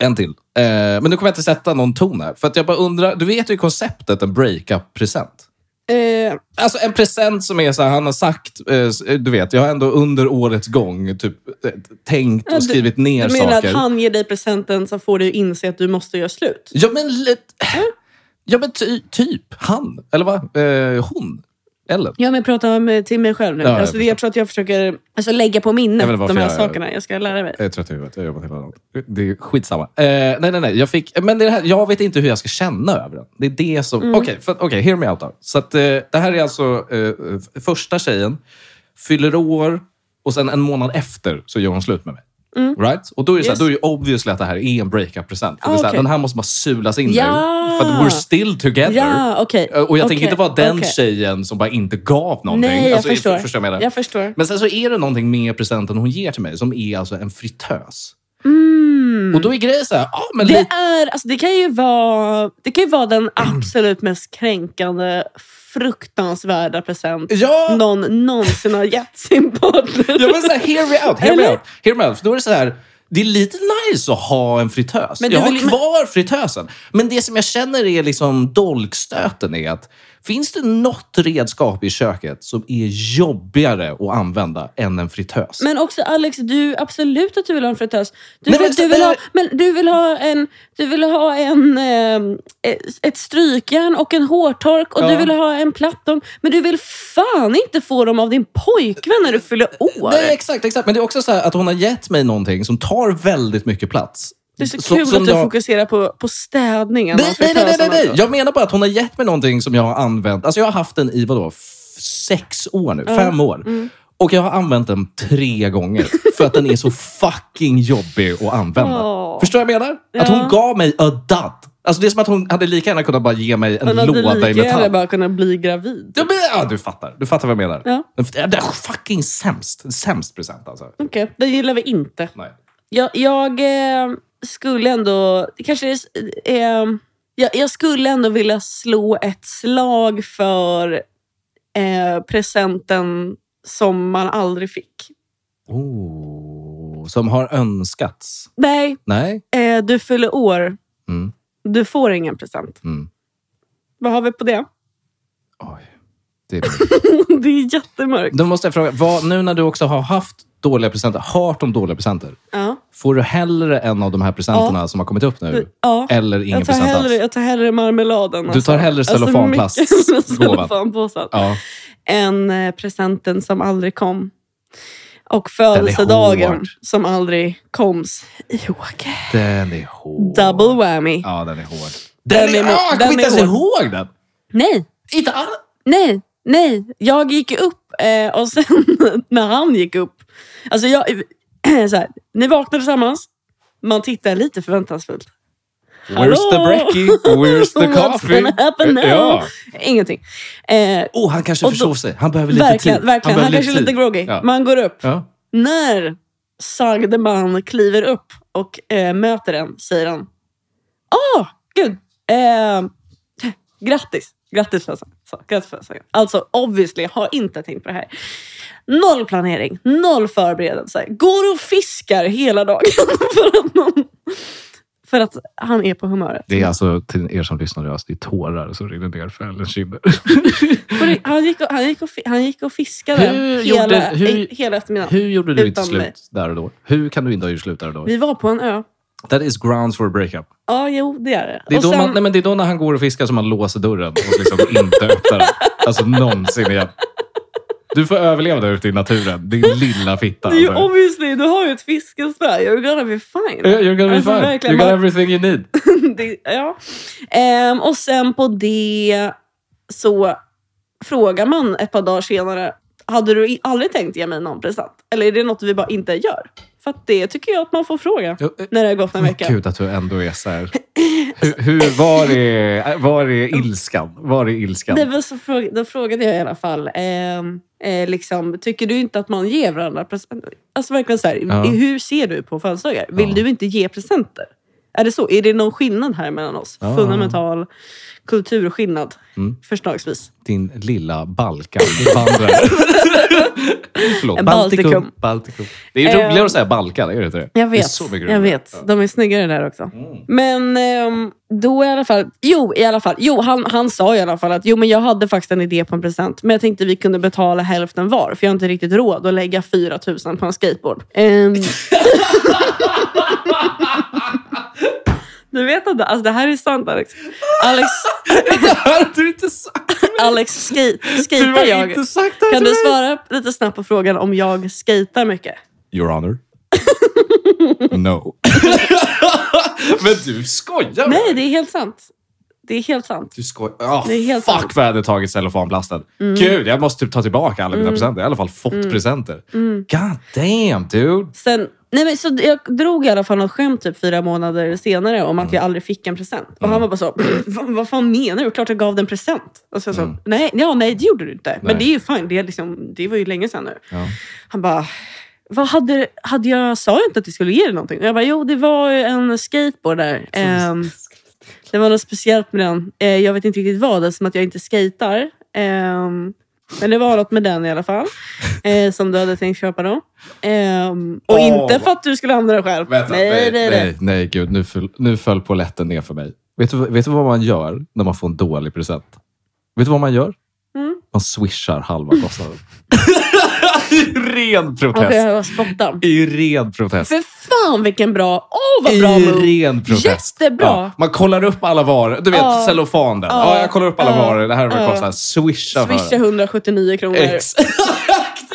[SPEAKER 2] En till. Eh, men nu kommer jag inte sätta någon ton här. För att jag bara undrar, du vet ju konceptet en breakup-present.
[SPEAKER 1] Eh,
[SPEAKER 2] Alltså en present som är så här, han har sagt, eh, du vet, jag har ändå under årets gång typ eh, tänkt och
[SPEAKER 1] du-
[SPEAKER 2] skrivit ner
[SPEAKER 1] du menar
[SPEAKER 2] saker.
[SPEAKER 1] att han ger dig presenten så får du inse att du måste göra slut?
[SPEAKER 2] Ja men, li- ja, men ty, typ han, eller vad? Eh, hon. Ellen.
[SPEAKER 1] Ja, men jag pratar om, eh, till mig själv nu.
[SPEAKER 2] Ja, jag
[SPEAKER 1] alltså, jag,
[SPEAKER 2] förstår.
[SPEAKER 1] tror att jag försöker alltså, lägga på
[SPEAKER 2] Jag
[SPEAKER 1] minnet
[SPEAKER 2] vet
[SPEAKER 1] de
[SPEAKER 2] inte
[SPEAKER 1] här
[SPEAKER 2] varför jag- Eh,
[SPEAKER 1] sakerna. Jag ska lära mig.
[SPEAKER 2] Jag är trött i huvudet. Jag har jobbat hela dagen. Det är skitsamma. Eh, nej, nej, nej. Jag, fick, men det är det här, jag vet inte hur jag ska känna över den. Det är det
[SPEAKER 1] Mm.
[SPEAKER 2] som... Okej, för- okej, hear me out då. Så att, eh, det här är alltså eh, f- första tjejen, fyller år och sen en månad efter så gör hon slut med mig. Right? Och då är det så här,
[SPEAKER 1] Mm. Yes.
[SPEAKER 2] då är ju obviously att det här är en breakup-present. För det är så här,
[SPEAKER 1] Ah, okej.
[SPEAKER 2] Den här måste bara sulas in
[SPEAKER 1] Ja.
[SPEAKER 2] nu. För att we're still together.
[SPEAKER 1] Ja, okej.
[SPEAKER 2] Eh, Och jag tänker
[SPEAKER 1] Okej,
[SPEAKER 2] inte vara den
[SPEAKER 1] okej.
[SPEAKER 2] tjejen som bara inte gav någonting.
[SPEAKER 1] Nej, jag
[SPEAKER 2] Alltså,
[SPEAKER 1] förstår.
[SPEAKER 2] för- Förstår jag vad jag menar?
[SPEAKER 1] Jag förstår.
[SPEAKER 2] Men sen så är det någonting med presenten hon ger till mig som är alltså en fritös. Och då är grejen så här, ja men
[SPEAKER 1] Mm. Det,
[SPEAKER 2] lite...
[SPEAKER 1] är, alltså, det, kan ju vara, det kan ju vara den absolut mest kränkande, fruktansvärda present
[SPEAKER 2] Ja!
[SPEAKER 1] någon någonsin har gett sin partner.
[SPEAKER 2] Jag vill säga, hear me out, hear me
[SPEAKER 1] Eller?
[SPEAKER 2] out. Hear me out. För då är det så här, det är lite nice att ha en fritös.
[SPEAKER 1] Men
[SPEAKER 2] jag
[SPEAKER 1] du
[SPEAKER 2] har
[SPEAKER 1] vill ju-
[SPEAKER 2] kvar fritösen. Men det som jag känner är liksom dolkstöten är att finns det något redskap i köket som är jobbigare att använda än en fritös?
[SPEAKER 1] Men också Alex, du absolut att du vill ha en fritös. Du,
[SPEAKER 2] Men
[SPEAKER 1] vill,
[SPEAKER 2] Alex,
[SPEAKER 1] du, vill
[SPEAKER 2] det-
[SPEAKER 1] ha, men du vill ha en, du vill ha en ehm, ett strykjärn och en hårtork och
[SPEAKER 2] Ja.
[SPEAKER 1] du vill ha en plattdom. Men du vill fan inte få dem av din pojkvän när du fyller år.
[SPEAKER 2] Nej, exakt, exakt. Men det är också så här att hon har gett mig någonting som tar väldigt mycket plats.
[SPEAKER 1] det är så, kul
[SPEAKER 2] som
[SPEAKER 1] att du
[SPEAKER 2] jag-
[SPEAKER 1] fokuserar på, på städningen av
[SPEAKER 2] Nej, nej, nej, nej,
[SPEAKER 1] fritösen
[SPEAKER 2] nej.
[SPEAKER 1] också.
[SPEAKER 2] Jag menar bara att hon har gett mig någonting som jag har använt. Alltså jag har haft den i vadå, f- sex år nu? Fem år.
[SPEAKER 1] Mm.
[SPEAKER 2] Och jag har använt den tre gånger för att den är så fucking jobbig att använda.
[SPEAKER 1] Åh.
[SPEAKER 2] Förstår du vad jag menar? Att hon
[SPEAKER 1] Ja.
[SPEAKER 2] gav mig a dud. Alltså det är som att hon hade lika gärna kunnat bara ge mig en
[SPEAKER 1] Hon hade
[SPEAKER 2] låda i
[SPEAKER 1] lika gärna
[SPEAKER 2] metall.
[SPEAKER 1] bara kunnat bli gravid.
[SPEAKER 2] Ja, men, ja, du fattar. Du fattar vad jag menar.
[SPEAKER 1] Ja.
[SPEAKER 2] Det är fucking sämst. Sämst present alltså.
[SPEAKER 1] Okej, det gillar vi inte.
[SPEAKER 2] Nej.
[SPEAKER 1] Jag, jag eh, skulle ändå... det Kanske är, eh, jag, jag skulle ändå vilja slå ett slag för eh, presenten som man aldrig fick.
[SPEAKER 2] Oh, som har önskats.
[SPEAKER 1] Nej,
[SPEAKER 2] Nej.
[SPEAKER 1] eh, du fyller år.
[SPEAKER 2] Mm.
[SPEAKER 1] Du får ingen present.
[SPEAKER 2] Mm.
[SPEAKER 1] Vad har vi på det?
[SPEAKER 2] Oj. Det är
[SPEAKER 1] det är jättemörkt.
[SPEAKER 2] Då måste jag fråga, vad, nu när du också har haft dåliga presenter, hört om dåliga presenter,
[SPEAKER 1] Ja.
[SPEAKER 2] får du hellre en av de här presenterna som har kommit upp nu?
[SPEAKER 1] Ja.
[SPEAKER 2] Eller ingen
[SPEAKER 1] Jag tar,
[SPEAKER 2] present
[SPEAKER 1] hellre,
[SPEAKER 2] alls?
[SPEAKER 1] jag tar hellre marmeladen.
[SPEAKER 2] Du tar hellre cellofanplast-
[SPEAKER 1] Alltså mycket
[SPEAKER 2] gåvan.
[SPEAKER 1] cellofanpåsen.
[SPEAKER 2] Ja,
[SPEAKER 1] än eh, presenten som aldrig kom. Och
[SPEAKER 2] är
[SPEAKER 1] födelsedagen
[SPEAKER 2] hård.
[SPEAKER 1] som aldrig koms. Joakim.
[SPEAKER 2] den är hård.
[SPEAKER 1] Double whammy.
[SPEAKER 2] Ja, den är hård.
[SPEAKER 1] Den
[SPEAKER 2] Den, är,
[SPEAKER 1] är-
[SPEAKER 2] ah, jag
[SPEAKER 1] den
[SPEAKER 2] kommer inte
[SPEAKER 1] är
[SPEAKER 2] ens
[SPEAKER 1] hård.
[SPEAKER 2] ihåg den!
[SPEAKER 1] Nej,
[SPEAKER 2] Inte alls!
[SPEAKER 1] nej, nej. Jag gick ju upp eh, och sen när han gick upp. Alltså jag, så här, ni vaknar tillsammans. Man tittar lite förväntansfullt. Hallå?
[SPEAKER 2] Where's the brekkie? Where's the
[SPEAKER 1] What's
[SPEAKER 2] coffee?
[SPEAKER 1] gonna happen now?
[SPEAKER 2] Ja.
[SPEAKER 1] Ingenting. Eh,
[SPEAKER 2] Oh, han kanske
[SPEAKER 1] Och då-
[SPEAKER 2] försov sig. Han behöver lite
[SPEAKER 1] verkligen,
[SPEAKER 2] tid.
[SPEAKER 1] verkligen. Han,
[SPEAKER 2] behöver
[SPEAKER 1] kanske är lite
[SPEAKER 2] tid.
[SPEAKER 1] groggy.
[SPEAKER 2] Ja.
[SPEAKER 1] Man går upp.
[SPEAKER 2] Ja.
[SPEAKER 1] När sagde man kliver upp och eh, möter en säger han Åh, gud! Eh, grattis! Grattis födelsedagen. Alltså, obviously, har inte tänkt på det här. Noll planering, noll förberedelse. Går och fiskar hela dagen för att, någon, för att han är på humöret.
[SPEAKER 2] Det är alltså till er som lyssnar, alltså, det är tårar som rinner ner för Ellens kinder.
[SPEAKER 1] För det- Han, gick och, han, gick och, fi- han gick och fiskade
[SPEAKER 2] Hur
[SPEAKER 1] hela,
[SPEAKER 2] gjorde- hur-
[SPEAKER 1] i- hela eftermiddagen.
[SPEAKER 2] Hur gjorde du ditt
[SPEAKER 1] Utan mig.
[SPEAKER 2] slut där och då? Hur kan du inte ha gjort slut där och då?
[SPEAKER 1] Vi var på en ö.
[SPEAKER 2] That is grounds for a breakup.
[SPEAKER 1] Ja, jo, det är det.
[SPEAKER 2] Det är,
[SPEAKER 1] Och
[SPEAKER 2] då
[SPEAKER 1] sen-
[SPEAKER 2] man, nej men det är då när han går och fiskar som man låser dörren och liksom inte öppnar den. Alltså någonsin igen. Du får överleva där ute i naturen, din lilla fitta.
[SPEAKER 1] Det är ju
[SPEAKER 2] alltså.
[SPEAKER 1] obviously, du har ju ett fiskespö. You're gonna be fine.
[SPEAKER 2] Eh, You're gonna be
[SPEAKER 1] Alltså,
[SPEAKER 2] fine.
[SPEAKER 1] verkligen,
[SPEAKER 2] you got
[SPEAKER 1] man-
[SPEAKER 2] everything you need.
[SPEAKER 1] det, ja. Ehm, och sen på det så frågar man ett par dagar senare. Hade du i- aldrig tänkt ge mig någon present? Eller är det något vi bara inte gör? För att det tycker jag att man får fråga
[SPEAKER 2] Ja, eh,
[SPEAKER 1] när det har gått en vecka.
[SPEAKER 2] Gud att du ändå är så här. Hur, hur, var, är, var är ilskan? Var är ilskan?
[SPEAKER 1] Det var så fråga, då frågade jag i alla fall. ehm, eh, liksom, tycker du inte att man ger varandra presenter? Alltså verkligen så här,
[SPEAKER 2] Ja.
[SPEAKER 1] hur ser du på födelsedagar? Vill
[SPEAKER 2] Ja.
[SPEAKER 1] du inte ge presenter? Är det så? Är det någon skillnad här mellan oss?
[SPEAKER 2] Ja.
[SPEAKER 1] Fundamental kulturskillnad,
[SPEAKER 2] Mm.
[SPEAKER 1] förslagsvis.
[SPEAKER 2] Din lilla Balkanvandrare. Förlåt,
[SPEAKER 1] En
[SPEAKER 2] Baltikum.
[SPEAKER 1] Baltikum.
[SPEAKER 2] Baltikum. Det är ju
[SPEAKER 1] Eh,
[SPEAKER 2] roligare att säga Balkan, är det inte det?
[SPEAKER 1] Jag vet.
[SPEAKER 2] Det är så mycket
[SPEAKER 1] jag
[SPEAKER 2] roligare. Mm.
[SPEAKER 1] vet. De är snyggare där också. Men ehm, då i alla fall... Jo, i alla fall. Jo, han, han sa i alla fall att jo, men jag hade faktiskt en idé på en present. Men jag tänkte vi kunde betala hälften var. För jag har inte riktigt råd att lägga 4 000 på en skateboard. Ehm. du vet inte. Alltså, det här är sant Alex. Alex,
[SPEAKER 2] Det här har du inte sagt till
[SPEAKER 1] Alex, skate,
[SPEAKER 2] Du har
[SPEAKER 1] skater jag?
[SPEAKER 2] inte sagt det här
[SPEAKER 1] Kan
[SPEAKER 2] till
[SPEAKER 1] du
[SPEAKER 2] mig.
[SPEAKER 1] svara lite snabbt på frågan om jag skater mycket?
[SPEAKER 2] Your honor. no. Men du skojar!
[SPEAKER 1] Nej, det är helt sant. Det är helt sant.
[SPEAKER 2] Du skojar. Ah,
[SPEAKER 1] Det är helt sant. Mm.
[SPEAKER 2] fuck vad jag hade tagit cellofanplasten. Gud, jag måste typ ta tillbaka alla mina presenter. I alla fall fått presenter.
[SPEAKER 1] Mm.
[SPEAKER 2] God damn dude.
[SPEAKER 1] Sen, nej men, så jag drog i alla fall något skämt typ fyra månader senare om att jag aldrig fick en present. Och han var bara så, vad, vad fan menar du? Klart jag gav dig en present. Och så jag så, nej, ja, nej det gjorde du inte. Men
[SPEAKER 2] Mm. Nej.
[SPEAKER 1] det är ju fine, det, är liksom, det var ju länge sedan nu.
[SPEAKER 2] Ja.
[SPEAKER 1] Han bara, vad hade, hade jag, sa jag inte att du skulle ge dig någonting? Och jag bara, jo det var ju en skateboard där. Ehm, det var något speciellt med den. Eh, jag vet inte riktigt vad, eftersom att jag inte skatar. Ehm, men det var något med den i alla fall. Eh, som du hade tänkt köpa då. Ehm, och
[SPEAKER 2] Åh,
[SPEAKER 1] inte
[SPEAKER 2] vad-
[SPEAKER 1] för att du skulle använda den själv.
[SPEAKER 2] Vänta,
[SPEAKER 1] nej, nej, nej.
[SPEAKER 2] nej, nej, gud. Nu föll, nu föll poletten ner för mig. Vet du, vet du vad man gör när man får en dålig present? Vet du vad man gör?
[SPEAKER 1] Mm.
[SPEAKER 2] Man swishar halva kostnaden. Det är ju ren
[SPEAKER 1] Han
[SPEAKER 2] protest.
[SPEAKER 1] behöver spotta.
[SPEAKER 2] Det är ju ren protest.
[SPEAKER 1] För fan vilken bra! Åh vad
[SPEAKER 2] I
[SPEAKER 1] bra move!
[SPEAKER 2] ren protest.
[SPEAKER 1] Jättebra.
[SPEAKER 2] Ja, man kollar upp alla varor. Du vet,
[SPEAKER 1] Ja.
[SPEAKER 2] cellofan där.
[SPEAKER 1] Ja.
[SPEAKER 2] Ja, jag kollar upp alla
[SPEAKER 1] Ja.
[SPEAKER 2] varor. Det här är vad det
[SPEAKER 1] Ja.
[SPEAKER 2] kostar. Swisha för
[SPEAKER 1] Swisha
[SPEAKER 2] det.
[SPEAKER 1] 179 kronor.
[SPEAKER 2] Exakt,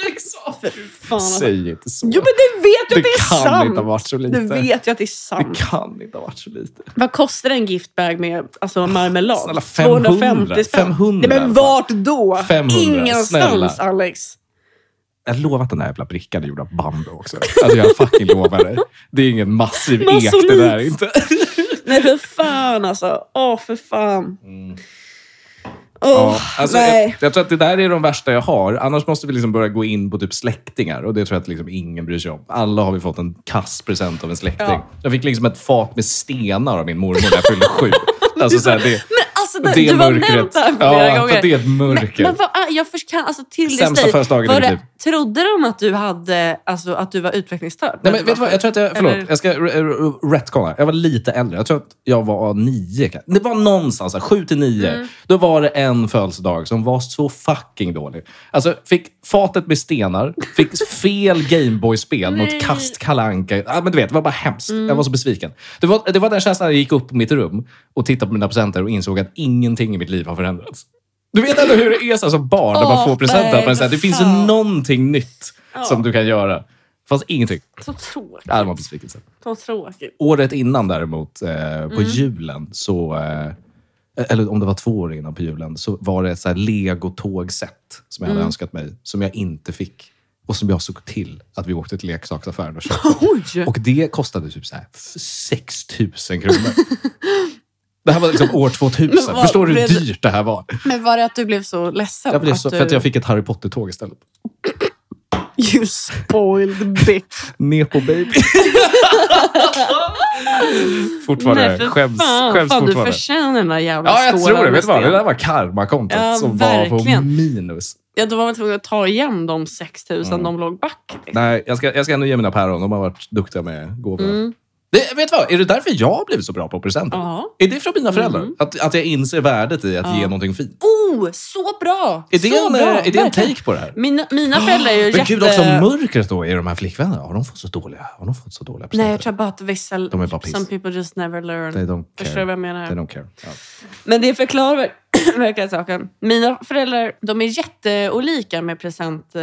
[SPEAKER 2] exakt.
[SPEAKER 1] Fan. alltså.
[SPEAKER 2] Säg inte så.
[SPEAKER 1] Jo men du vet ju
[SPEAKER 2] det
[SPEAKER 1] att det är
[SPEAKER 2] kan
[SPEAKER 1] sant!
[SPEAKER 2] inte ha varit så lite.
[SPEAKER 1] Du vet ju att det är
[SPEAKER 2] Det
[SPEAKER 1] sant.
[SPEAKER 2] kan inte ha varit så lite.
[SPEAKER 1] Vad kostar en giftbag med alltså, marmelad?
[SPEAKER 2] Snälla, 500.
[SPEAKER 1] 250 spänn.
[SPEAKER 2] 500.
[SPEAKER 1] Nej, men vart då?
[SPEAKER 2] 500,
[SPEAKER 1] Ingenstans,
[SPEAKER 2] snälla.
[SPEAKER 1] Alex.
[SPEAKER 2] Jag lovar att den där jävla brickan är gjord av bambu också. Alltså jag fucking lovar dig. Det är ingen massiv ek det där
[SPEAKER 1] Masonit.
[SPEAKER 2] inte.
[SPEAKER 1] Nej, för fan alltså. Åh, för fan. Åh,
[SPEAKER 2] Mm. Ja, alltså,
[SPEAKER 1] nej.
[SPEAKER 2] jag, jag tror att det där är de värsta jag har. Annars måste vi liksom börja gå in på typ släktingar. Och det tror jag att liksom ingen bryr sig om. Alla har vi fått en kass present av en släkting.
[SPEAKER 1] Ja.
[SPEAKER 2] Jag fick liksom ett fat med stenar av min mormor när jag fyllde sju. Alltså, så här, det,
[SPEAKER 1] Men alltså, det,
[SPEAKER 2] det
[SPEAKER 1] du har
[SPEAKER 2] mörkret.
[SPEAKER 1] nämnt det här flera
[SPEAKER 2] ja,
[SPEAKER 1] gånger.
[SPEAKER 2] för det är ett
[SPEAKER 1] Men,
[SPEAKER 2] mörker.
[SPEAKER 1] men vad, är- jag först kan, alltså till
[SPEAKER 2] Sämsta
[SPEAKER 1] dig,
[SPEAKER 2] födelsedagen i
[SPEAKER 1] var
[SPEAKER 2] mitt
[SPEAKER 1] det,
[SPEAKER 2] liv.
[SPEAKER 1] Trodde de att du, hade, alltså, att du var utvecklingsstörd?
[SPEAKER 2] Nej, men vet du vad? Jag tror att jag,
[SPEAKER 1] Eller-
[SPEAKER 2] förlåt, jag ska r- r- retconna. Jag var lite äldre. Jag tror att jag var nio. kanske. Det var någonstans, så här, sju till nio.
[SPEAKER 1] Mm.
[SPEAKER 2] Då var det en födelsedag som var så fucking dålig. Alltså, fick fatet med stenar, fick fel Gameboy-spel, något kast kalanka. Ja, men du vet, det var bara hemskt.
[SPEAKER 1] Mm.
[SPEAKER 2] Jag var så besviken. Det var, det var den känslan när jag gick upp på mitt rum och tittade på mina presenter och insåg att ingenting i mitt liv har förändrats. Du vet ändå hur det är så här, som barn när man
[SPEAKER 1] Åh,
[SPEAKER 2] får presenter.
[SPEAKER 1] nej,
[SPEAKER 2] på en sån här- Det finns ju
[SPEAKER 1] fan.
[SPEAKER 2] någonting nytt som du kan göra. Det fanns ingenting.
[SPEAKER 1] Så tråkigt.
[SPEAKER 2] Ja, det var en besvikelse.
[SPEAKER 1] Så tråkigt.
[SPEAKER 2] Året innan däremot, eh,
[SPEAKER 1] Mm.
[SPEAKER 2] på julen, så... Eh, eller om det var två år innan på julen, så var det ett så här legotågset som jag
[SPEAKER 1] Mm.
[SPEAKER 2] hade önskat mig, som jag inte fick. Och som jag såg till att vi åkte till leksaksaffären och köpte.
[SPEAKER 1] Oj!
[SPEAKER 2] Och det kostade typ så här 6 000 kronor. Det här var liksom år 2000.
[SPEAKER 1] Men vad-
[SPEAKER 2] Förstår du hur
[SPEAKER 1] blev det-
[SPEAKER 2] dyrt det här var?
[SPEAKER 1] Men var det att du blev så ledsen?
[SPEAKER 2] Jag blev så,
[SPEAKER 1] du...
[SPEAKER 2] för att jag fick ett Harry Potter-tåg istället.
[SPEAKER 1] You spoiled bitch.
[SPEAKER 2] Nepo baby. fortfarande.
[SPEAKER 1] Nej, för
[SPEAKER 2] skäms,
[SPEAKER 1] fan,
[SPEAKER 2] skäms
[SPEAKER 1] fan, du
[SPEAKER 2] fortfarande.
[SPEAKER 1] förtjänar den där jävla
[SPEAKER 2] Ja, jag
[SPEAKER 1] skålen
[SPEAKER 2] tror
[SPEAKER 1] med
[SPEAKER 2] det. Vet du vad? Det
[SPEAKER 1] sten.
[SPEAKER 2] där var karmakontot
[SPEAKER 1] Ja,
[SPEAKER 2] som var på
[SPEAKER 1] verkligen.
[SPEAKER 2] minus.
[SPEAKER 1] Ja, då var man tvungen att ta igen de 6 000
[SPEAKER 2] Mm.
[SPEAKER 1] de låg back. liksom.
[SPEAKER 2] Nej, jag ska, jag ska ändå ge mina päron. De har varit duktiga med gåvorna.
[SPEAKER 1] Mm.
[SPEAKER 2] Det, vet du vad? Är det därför jag har blivit så bra på presenter?
[SPEAKER 1] Ja. Mm.
[SPEAKER 2] Är det från mina föräldrar? Att, att jag inser värdet i att ge någonting fint?
[SPEAKER 1] Oh, så bra!
[SPEAKER 2] Är det,
[SPEAKER 1] så
[SPEAKER 2] en, eh,
[SPEAKER 1] bra.
[SPEAKER 2] är det en
[SPEAKER 1] verkligen.
[SPEAKER 2] take på det här?
[SPEAKER 1] Mina, mina föräldrar är ju
[SPEAKER 2] Men
[SPEAKER 1] jätte...
[SPEAKER 2] gud, också mörkret då i de här flickvännerna. Har de fått så dåliga, har de fått så dåliga presenter?
[SPEAKER 1] Nej, jag tror bara att vissa...
[SPEAKER 2] De är bara piss.
[SPEAKER 1] Some people just never learn.
[SPEAKER 2] They don't
[SPEAKER 1] Förstår du vad
[SPEAKER 2] care.
[SPEAKER 1] jag menar?
[SPEAKER 2] They don't care. Ja.
[SPEAKER 1] Men det förklarar ver- verkligen saken. Mina föräldrar de är jätteolika med present... eh,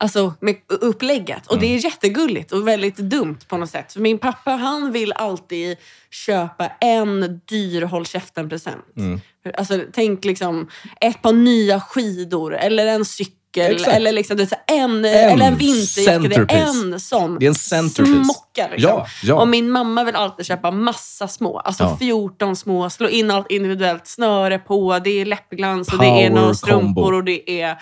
[SPEAKER 1] Alltså med u- upplägget. Och
[SPEAKER 2] Mm.
[SPEAKER 1] det är jättegulligt och väldigt dumt på något sätt. För min pappa han vill alltid köpa en dyr håll käften-present.
[SPEAKER 2] Mm.
[SPEAKER 1] Alltså, tänk liksom ett par nya skidor eller en cykel.
[SPEAKER 2] Exakt.
[SPEAKER 1] Eller, liksom, det är så här, en, eller en vinterjacka. Det är
[SPEAKER 2] centerpiece.
[SPEAKER 1] en sån.
[SPEAKER 2] Det är en centerpiece.
[SPEAKER 1] Smocka liksom.
[SPEAKER 2] Ja, ja.
[SPEAKER 1] Och min mamma vill alltid köpa massa små. Alltså
[SPEAKER 2] Ja.
[SPEAKER 1] 14 små. Slå in allt individuellt. Snöre på, det är läppglans och det
[SPEAKER 2] Power
[SPEAKER 1] är några strumpor
[SPEAKER 2] combo.
[SPEAKER 1] och det är...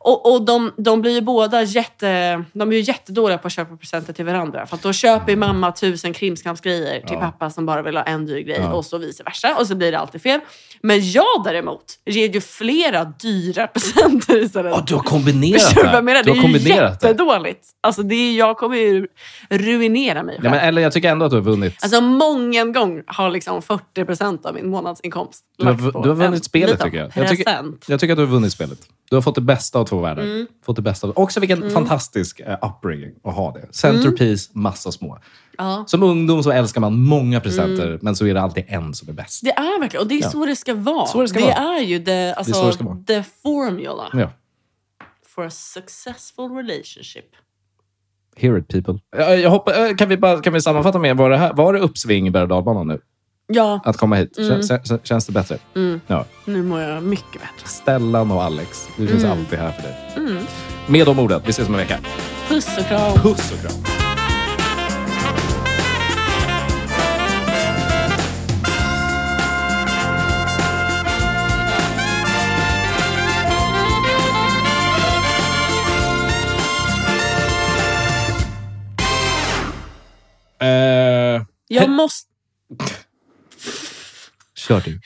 [SPEAKER 1] Och, och de, de blir ju båda jätte, de är ju jättedåliga på att köpa presenter till varandra. För att då köper ju mamma tusen krimskramsgrejer till
[SPEAKER 2] Ja.
[SPEAKER 1] pappa som bara vill ha en dyr grej
[SPEAKER 2] Ja.
[SPEAKER 1] och så vice versa. Och så blir det alltid fel. Men jag däremot ger ju flera dyra presenter istället.
[SPEAKER 2] Åh, du har kombinerat
[SPEAKER 1] Förstår du vad jag menar?
[SPEAKER 2] Du
[SPEAKER 1] Det
[SPEAKER 2] har
[SPEAKER 1] är ju
[SPEAKER 2] kombinerat det.
[SPEAKER 1] jättedåligt. Alltså, det är, jag kommer ju ruinera mig själv.
[SPEAKER 2] Ja, men, eller jag tycker ändå att du har vunnit.
[SPEAKER 1] Alltså många gång har liksom 40 av min månadsinkomst
[SPEAKER 2] Du har,
[SPEAKER 1] lagt på
[SPEAKER 2] du har
[SPEAKER 1] en
[SPEAKER 2] vunnit spelet
[SPEAKER 1] liten
[SPEAKER 2] tycker jag. Jag
[SPEAKER 1] Present.
[SPEAKER 2] tycker, jag tycker att du har vunnit spelet. Du har fått det bästa av två världar.
[SPEAKER 1] Mm. Mm.
[SPEAKER 2] Fått det bästa av, också vilken fantastisk eh, upbringing att ha det. Centerpiece, massa små.
[SPEAKER 1] Ja.
[SPEAKER 2] Som ungdom så älskar man många presenter,
[SPEAKER 1] Mm.
[SPEAKER 2] men så är det alltid en som är bäst.
[SPEAKER 1] Det är verkligen, och det är
[SPEAKER 2] Ja.
[SPEAKER 1] så det ska vara.
[SPEAKER 2] Så det ska vara.
[SPEAKER 1] är ju the, alltså,
[SPEAKER 2] så det ska vara. Mm.
[SPEAKER 1] the formula
[SPEAKER 2] Ja.
[SPEAKER 1] for a successful relationship.
[SPEAKER 2] Hear it people. Jag, jag hoppa, eh, kan, vi bara, kan vi sammanfatta med, var det, här, var det uppsving i berg och dalbanan nu?
[SPEAKER 1] Ja,
[SPEAKER 2] Att komma hit? Kän- kän- Känns, det bättre?
[SPEAKER 1] Mm.
[SPEAKER 2] Ja.
[SPEAKER 1] nu mår jag mycket bättre.
[SPEAKER 2] Stellan och Alex, vi finns alltid här för dig.
[SPEAKER 1] Mm.
[SPEAKER 2] Med de orden, vi ses om en vecka.
[SPEAKER 1] Puss och kram.
[SPEAKER 2] Puss och kram. Eh,
[SPEAKER 1] Jag måste...
[SPEAKER 2] kör du.